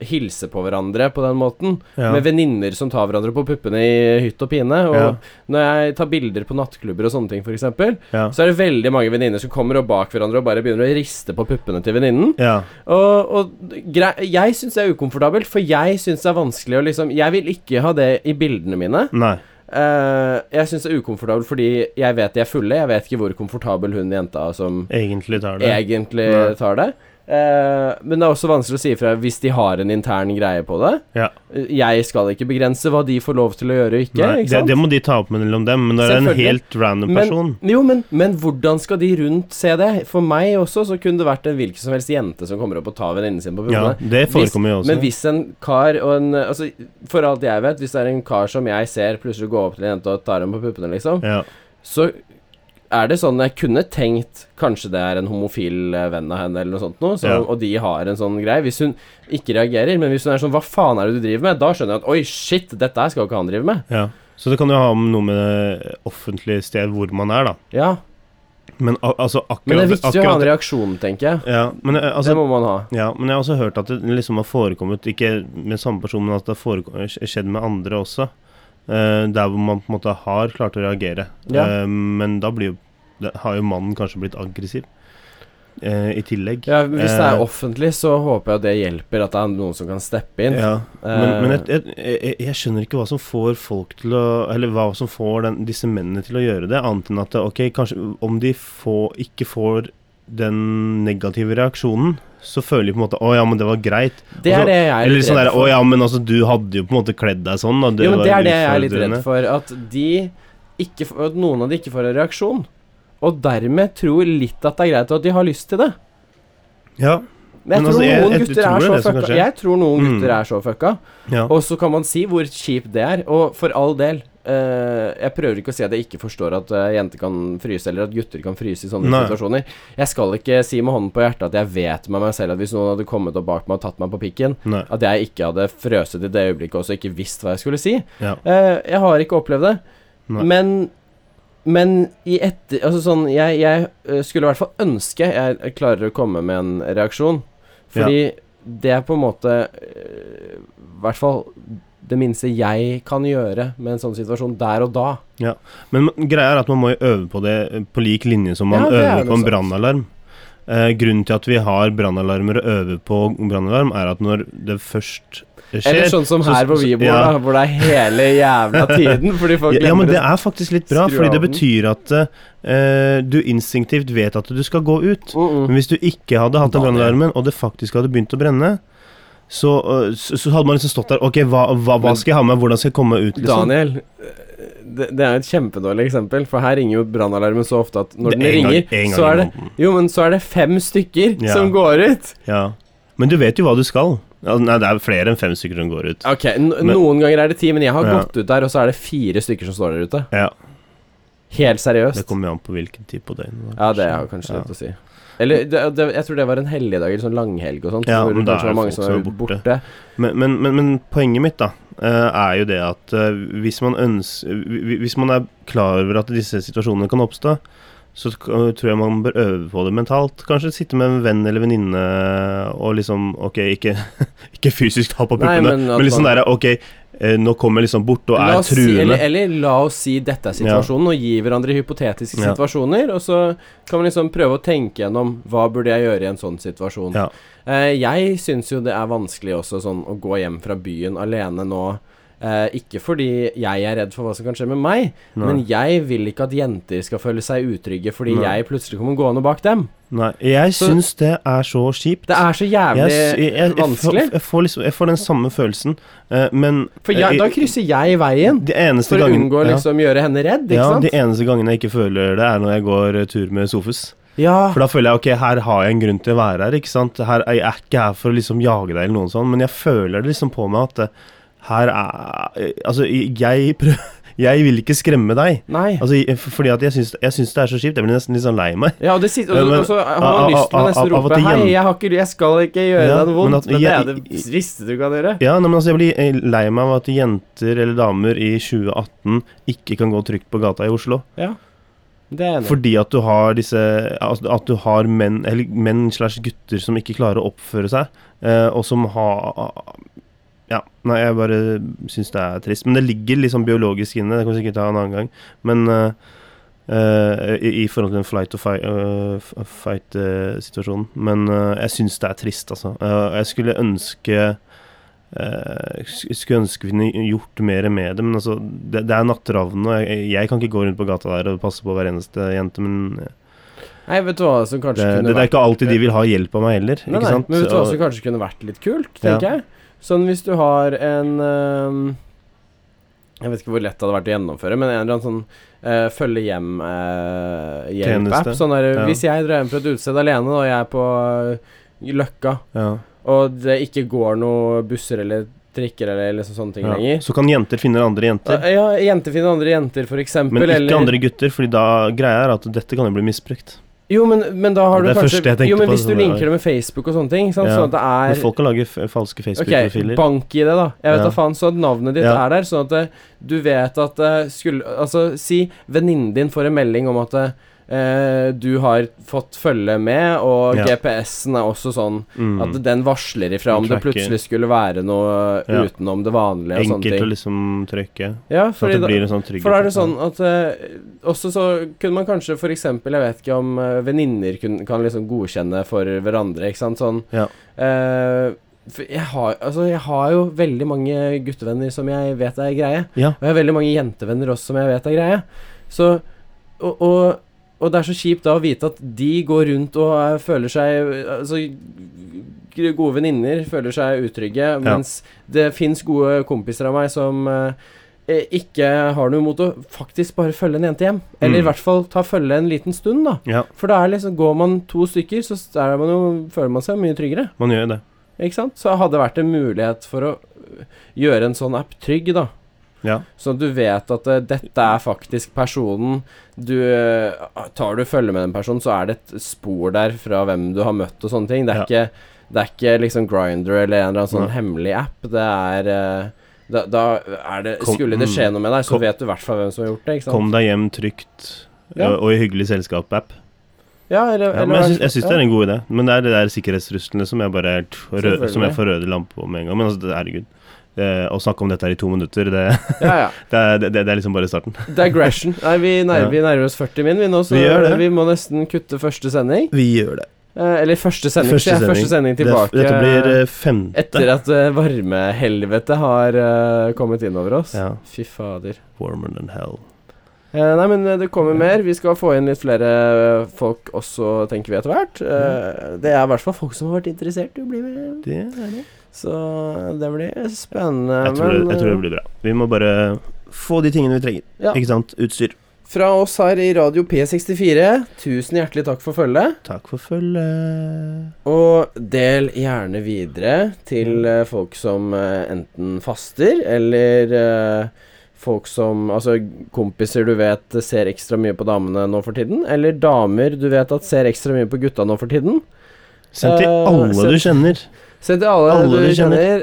A: hilse på hverandre på den måten.
B: Ja.
A: Med venninner som tar hverandre på puppene i hytt og pine. Og
B: Ja.
A: når jeg tar bilder på nattklubber og sånne ting, f.eks.,
B: Ja.
A: så er det veldig mange venninner som kommer og bak hverandre og bare begynner å riste på puppene til venninnen.
B: Ja.
A: Og, og grei, jeg syns det er ukomfortabelt, for jeg syns det er vanskelig å liksom Jeg vil ikke ha det i bildene mine.
B: Nei.
A: Eh, jeg syns det er ukomfortabelt fordi jeg vet de er fulle. Jeg vet ikke hvor komfortabel hun jenta som
B: Egentlig tar det.
A: egentlig
B: Nei.
A: tar det. Eh, men det er også vanskelig å si ifra hvis de har en intern greie på det.
B: Ja.
A: Jeg skal ikke begrense hva de får lov til å gjøre og ikke.
B: Nei,
A: ikke
B: det,
A: sant?
B: det må de ta opp mellom dem, men det er en
A: Selvfølgelig.
B: helt random person.
A: men, jo, men, men hvordan skal de rundt se det? For meg også så kunne det vært en hvilken som helst jente som kommer opp og tar venninnen sin på
B: Ja,
A: puppene.
B: det forekommer jo også.
A: Men hvis en kar og en Altså, for alt jeg vet, hvis det er en kar som jeg ser plutselig gå opp til en jente og tar henne på puppene, liksom,
B: ja.
A: så er det sånn jeg kunne tenkt Kanskje det er en homofil eh, venn av henne, eller noe sånt noe, så,
B: Ja.
A: og de har en sånn greie. Hvis hun ikke reagerer, men hvis hun er sånn Hva faen er det du driver med? Da skjønner jeg at Oi, shit, dette her skal jo ikke han drive med.
B: ja. Så det kan jo ha med noe med det offentlige sted hvor man er, da.
A: Ja.
B: Men al- altså akkurat
A: Men det er viktig å ha
B: akkurat-
A: en reaksjon, tenker jeg.
B: Ja, men, eh, altså,
A: Det må man ha.
B: ja, men jeg har også hørt at det liksom har forekommet, ikke med samme person, men at det har forekom- skjedd med andre også. eh, der hvor man på en måte har klart å reagere.
A: Ja.
B: Eh, men da blir jo det, har jo mannen kanskje blitt aggressiv eh, i tillegg.
A: Ja, Hvis det
B: Eh,
A: er offentlig, så håper jeg at det hjelper, at det er noen som kan steppe inn.
B: Ja, men,
A: Eh,
B: men jeg, jeg, jeg, jeg skjønner ikke hva som får folk til å Eller hva som får den, disse mennene til å gjøre det, annet enn at ok, kanskje om de får, ikke får den negative reaksjonen, så føler de på en måte Å ja, men det var greit.
A: Det
B: Og så-
A: er det jeg er
B: Eller
A: litt
B: sånn
A: redd
B: der Å
A: for.
B: ja, men altså, du hadde jo på en måte kledd deg sånn, og det
A: jo, men
B: var
A: det er det jeg er litt redd
B: utfordrende.
A: for. At de ikke f- At noen av de ikke får en reaksjon. Og dermed tror litt at det er greit, og at de har lyst til det.
B: Ja,
A: Men jeg
B: Men
A: tror
B: altså, jeg-
A: noen
B: jeg
A: gutter
B: tror
A: er
B: det
A: så
B: er det som
A: fucka.
B: kanskje-
A: Jeg tror noen
B: Mm.
A: gutter er så fucka.
B: ja.
A: Og så kan man si hvor kjipt det er. Og for all del. eh, jeg prøver ikke å si at jeg ikke forstår at eh, jenter kan fryse, eller at gutter kan fryse i sånne
B: Nei.
A: situasjoner. Jeg skal ikke si med hånden på hjertet at jeg vet med meg selv at hvis noen hadde kommet opp bak meg og tatt meg på pikken,
B: Nei.
A: at jeg ikke hadde frøset i det øyeblikket også, ikke visst hva jeg skulle si.
B: Ja.
A: Eh, jeg har ikke opplevd det.
B: Nei.
A: Men men i etter... Altså sånn, jeg, jeg eh, skulle i hvert fall ønske jeg klarer å komme med en reaksjon. Fordi det er på en måte eh, I hvert fall det minste jeg kan gjøre med en sånn situasjon der og da.
B: Men man- greia er at man må jo øve på det eh, på lik linje som man
A: Ja, det er
B: øver
A: det
B: på en
A: sant.
B: brannalarm. Eh, grunnen til at vi har brannalarmer og øver på brannalarm, er at når det først skjer
A: Eller sånn som
B: så-
A: her hvor vi
B: så-
A: bor,
B: ja.
A: da, hvor det er hele jævla tiden fordi folk
B: ja, ja, men
A: glemmer
B: det
A: å-
B: er faktisk litt bra,
A: Skru
B: fordi det
A: av den.
B: betyr at eh, du instinktivt vet at du skal gå ut.
A: Mm, mm.
B: Men hvis du ikke hadde hatt den
A: Da det-
B: brannalarmen, og det faktisk hadde begynt å brenne, så, eh, så, så hadde man liksom stått der Ok, hva, hva, hva
A: Men-
B: skal jeg ha med? Hvordan skal jeg komme meg ut? Liksom?
A: Daniel, det, det er jo et kjempedårlig eksempel, for her ringer jo brannalarmen så ofte at når
B: Det-
A: den
B: en gang-
A: ringer,
B: en gang
A: så
B: i
A: er det
B: måneden.
A: Jo, men så er det fem stykker
B: Ja.
A: som går ut.
B: Ja. Men du vet jo hva du skal. Ja, nei, det er flere enn fem stykker som går ut.
A: Ok, n
B: Men-
A: Noen ganger er det ti, men jeg har
B: Ja.
A: gått ut der, og så er det fire stykker som står der ute.
B: Ja,
A: Helt seriøst.
B: Det kommer jo an på hvilken tid på døgnet.
A: ja, det er jo kanskje
B: Ja.
A: litt sånn. å si. Eller det, det, jeg tror det var en helligdag, eller sånn langhelg og sånt.
B: Ja,
A: hvor
B: men
A: det
B: da er
A: kanskje var
B: det
A: mange
B: folk
A: som
B: som
A: var
B: er
A: borte.
B: borte. Men, men, men, men poenget mitt da eh, er jo det at eh, hvis man ønsker hvi- Hvis man er klar over at disse situasjonene kan oppstå, så k- eh, tror jeg man bør øve på det mentalt. Kanskje sitte med en venn eller venninne og liksom Ok, ikke, ikke fysisk ta på
A: Nei,
B: puppene, men,
A: men at
B: liksom
A: man-
B: der Ok, eh, nå kommer jeg liksom bort og
A: La
B: er
A: oss si, eller,
B: truende.
A: eller la oss si dette er situasjonen, og gi hverandre hypotetiske
B: Ja.
A: situasjoner. Og så kan man liksom prøve å tenke gjennom hva burde jeg gjøre i en sånn situasjon.
B: Ja.
A: Eh, jeg syns jo det er vanskelig også sånn å gå hjem fra byen alene nå. Eh, ikke fordi jeg er redd for hva som kan skje med meg,
B: Nei.
A: men jeg vil ikke at jenter skal føle seg utrygge fordi
B: Nei.
A: jeg plutselig kommer gående bak dem.
B: Nei, jeg
A: Så-
B: syns det er så kjipt.
A: Det er så jævlig
B: jeg, s- jeg, jeg, jeg, får,
A: vanskelig.
B: jeg, får liksom, jeg får den samme følelsen, eh, men
A: For jeg, da
B: eh,
A: krysser jeg veien
B: de eneste
A: for å
B: gangen-
A: unngå
B: ja.
A: liksom gjøre henne redd, ikke
B: Ja, de
A: sant?
B: eneste gangene jeg ikke føler det, er når jeg går eh, tur med Sofus.
A: Ja,
B: For da føler jeg ok, her har jeg en grunn til å være her. ikke sant? Her, jeg er ikke her for å liksom jage deg, eller noe sånt, men jeg føler det liksom på meg at eh, her er eh, Altså, jeg prøver, Jeg vil ikke skremme deg.
A: Nei.
B: Altså, i- f- fordi at jeg syns, jeg syns det er så kjipt. Jeg blir nesten litt sånn lei meg.
A: Ja, og, det sitter,
B: Ja,
A: og,
B: men-
A: og så har man
B: av-
A: lyst til å
B: av-
A: nesten
B: av- av og
A: rope
B: til
A: 'Hei,
B: gjen-
A: jeg, har ikke, jeg skal ikke gjøre
B: Ja,
A: deg noe
B: men
A: vondt',
B: at-
A: men,
B: jeg-
A: det er det siste du kan gjøre.
B: Ja, nei, men altså, Jeg blir eh, lei meg av at jenter eller damer i 2018 ikke kan gå trygt på gata i Oslo.
A: Det er jeg enig. i.
B: Fordi at du har disse altså, At du har menn Eller menn slash gutter som ikke klarer å oppføre seg, eh, og som har Ja. Nei, jeg bare syns det er trist. Men det ligger liksom biologisk inne, det kan vi sikkert ta en annen gang. Men eh, eh, i, I forhold til den flight eh, or fight-situasjonen. eh, Men eh, jeg syns det er trist, altså. Eh, jeg skulle ønske eh, sk- skulle ønske vi kunne gjort mer med det, men altså, det, det er natteravnene. og Jeg, jeg kan ikke gå rundt på gata der og passe på hver eneste jente, men det,
A: Nei, vet du hva som kanskje
B: det,
A: kunne
B: det er
A: vært
B: ikke alltid de vil ha hjelp av meg heller.
A: Nei,
B: ikke
A: nei,
B: sant?
A: Men vet du hva som
B: Og,
A: kanskje kunne vært litt kult, tenker jeg? Sånn hvis du har en øhm, Jeg vet ikke hvor lett det hadde vært å gjennomføre, men en eller annen sånn øh, følge hjem-hjelp-app.
B: Tjeneste.
A: sånn der,
B: Ja.
A: Hvis jeg drar hjem fra et utested alene, og jeg er på øh, Løkka,
B: ja,
A: og det ikke går noen busser eller trikker eller liksom sånne ting
B: ja.
A: lenger
B: Så kan jenter finne andre jenter,
A: Ja, jenter finner andre jenter, for eksempel.
B: men ikke
A: eller-
B: andre gutter, Fordi da greia er at dette kan jo bli misbrukt.
A: Jo, men, men da har du
B: Det er
A: kanskje
B: første jeg tenkte
A: Jo, men
B: på,
A: hvis du
B: sånn,
A: linker
B: ja.
A: det med Facebook og sånne ting, sant?
B: Ja.
A: sånn at det er
B: Men folk kan lage f falske Facebook-profiler.
A: Ok, bank i det, da. Jeg vet
B: Ja.
A: da faen, så at navnet ditt
B: Ja.
A: er der, sånn at eh, du vet at eh, skulle Altså, si venninnen din får en melding om at eh, du har fått følge med, og
B: Ja.
A: GPS-en er også sånn
B: Mm.
A: at den varsler ifra om
B: Den
A: det
B: tracker.
A: plutselig skulle være noe
B: Ja.
A: utenom det vanlige og
B: Enkelt å
A: sånne sånn ting.
B: liksom trykke.
A: Ja,
B: Så at
A: fordi
B: det
A: da,
B: blir en sånn trygghet.
A: for da er det sånn at eh, Også så kunne man kanskje for eksempel Jeg vet ikke om eh, venninner kun- kan liksom godkjenne for hverandre, ikke sant? Sånn
B: Ja.
A: eh, for jeg har, altså, jeg har jo veldig mange guttevenner som jeg vet er greie.
B: Ja.
A: Og jeg har veldig mange jentevenner også som jeg vet er greie. Så Og, og, og det er så kjipt da å vite at de går rundt og eh, føler seg Altså g- Gode venninner føler seg utrygge, mens det fins gode kompiser av meg som eh, eh, ikke har noe imot å faktisk bare følge en jente hjem. Eller
B: Mm.
A: i hvert fall ta følge en liten stund, da.
B: Ja,
A: For da er liksom, går man to stykker, så s- er man jo, føler man seg mye tryggere.
B: man gjør jo det.
A: Ikke sant? Så hadde det vært en mulighet for å øh, gjøre en sånn app trygg, da.
B: Ja.
A: Sånn at du vet at eh, dette er faktisk personen du eh, Tar du følge med den personen, så er det et spor der fra hvem du har møtt og sånne ting. Det er,
B: Ja.
A: ikke, det er ikke liksom Grinder eller en eller annen sånn
B: Nei.
A: hemmelig app. Det er eh, da, da er det
B: Kom-
A: Skulle det skje noe med deg, så
B: Kom-
A: vet du i hvert fall hvem som har gjort det. Ikke sant?
B: Kom deg hjem trygt
A: Sånn. Ja.
B: og, og i hyggelig selskap-app.
A: Ja, eller,
B: Ja,
A: eller
B: men jeg
A: hva-
B: syns, jeg syns det er en god idé, men det er det der sikkerhetstruslene som jeg bare er t- rød,
A: Selvfølgelig.
B: Som jeg får røde lamper på med en gang. Men altså, det- herregud. Eh, å snakke om dette her i to minutter, det,
A: ja, ja.
B: det, er, det, det er liksom bare starten.
A: Digression. Nei, vi nærmer,
B: Ja.
A: vi nærmer oss 40 min, vi nå, så
B: Vi gjør det.
A: vi må nesten kutte første sending.
B: Vi gjør det.
A: Eh, eller første sending.
B: Første
A: Første sending,
B: sending.
A: første sending tilbake
B: Dette blir eh, femte.
A: etter at eh, varmehelvete har eh, kommet inn over oss.
B: Ja.
A: Fy fader.
B: Warmer than hell.
A: Eh, nei, men eh, det kommer
B: Ja.
A: mer. Vi skal få inn litt flere eh, folk også, tenker vi etter hvert. Eh, det er i hvert fall folk som har vært interessert i å bli med.
B: Mm. Det er det.
A: Så eh, det blir spennende.
B: Jeg tror, det,
A: men,
B: jeg tror
A: eh,
B: det blir bra. Vi må bare få de tingene vi trenger.
A: Ja.
B: Ikke sant? Utstyr.
A: Fra oss her i Radio P64, tusen hjertelig takk for følget.
B: Takk for følget.
A: Og del gjerne videre til eh, folk som eh, enten faster, eller eh, folk som Altså kompiser du vet ser ekstra mye på damene nå for tiden, eller damer du vet at ser ekstra mye på gutta nå for tiden.
B: Send til
A: Eh,
B: alle
A: send-
B: du kjenner.
A: Se til alle,
B: Alle
A: du
B: du
A: kjenner,
B: kjenner.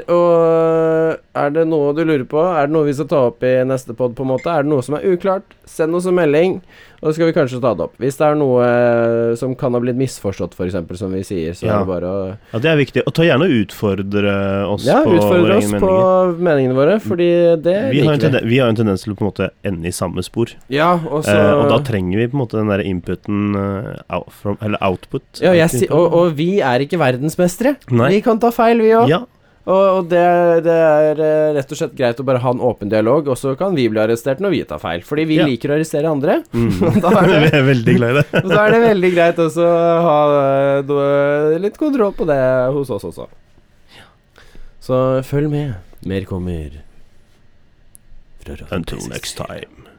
A: og er det noe du lurer på, er det noe vi skal ta opp i neste pod, på en måte, er det noe som er uklart, send oss en melding, og så skal vi kanskje ta det opp. Hvis det er noe eh, som kan ha blitt misforstått, f.eks., som vi sier, så
B: Ja.
A: er det bare å
B: Ja, det er viktig. Og ta gjerne og utfordre oss
A: ja,
B: på
A: utfordre
B: våre
A: oss
B: egne
A: på
B: meninger.
A: meningene våre, fordi det
B: Vi har,
A: Eh, liker
B: en
A: vi.
B: tenden- vi har en tendens til å på en måte ende i samme spor,
A: Ja, og så
B: eh, og da trenger vi på en måte den der inputen eh, out from, Eller output.
A: ja, jeg, si- og, og vi er ikke verdensmestere.
B: Nei.
A: Vi kan ta feil, vi òg.
B: Ja,
A: Og, og det, er- det er eh, rett og slett greit å bare ha en åpen dialog, og så kan vi bli arrestert når vi tar feil. Fordi vi
B: Ja.
A: liker å arrestere andre.
B: mm.
A: Da er
B: vi
A: det,
B: er veldig glad i det.
A: og da er det veldig greit også å ha eh, noe- litt kontroll på det hos oss også. Så følg med. Mer kommer. Fra Radio
B: Until
A: 64.
B: next time.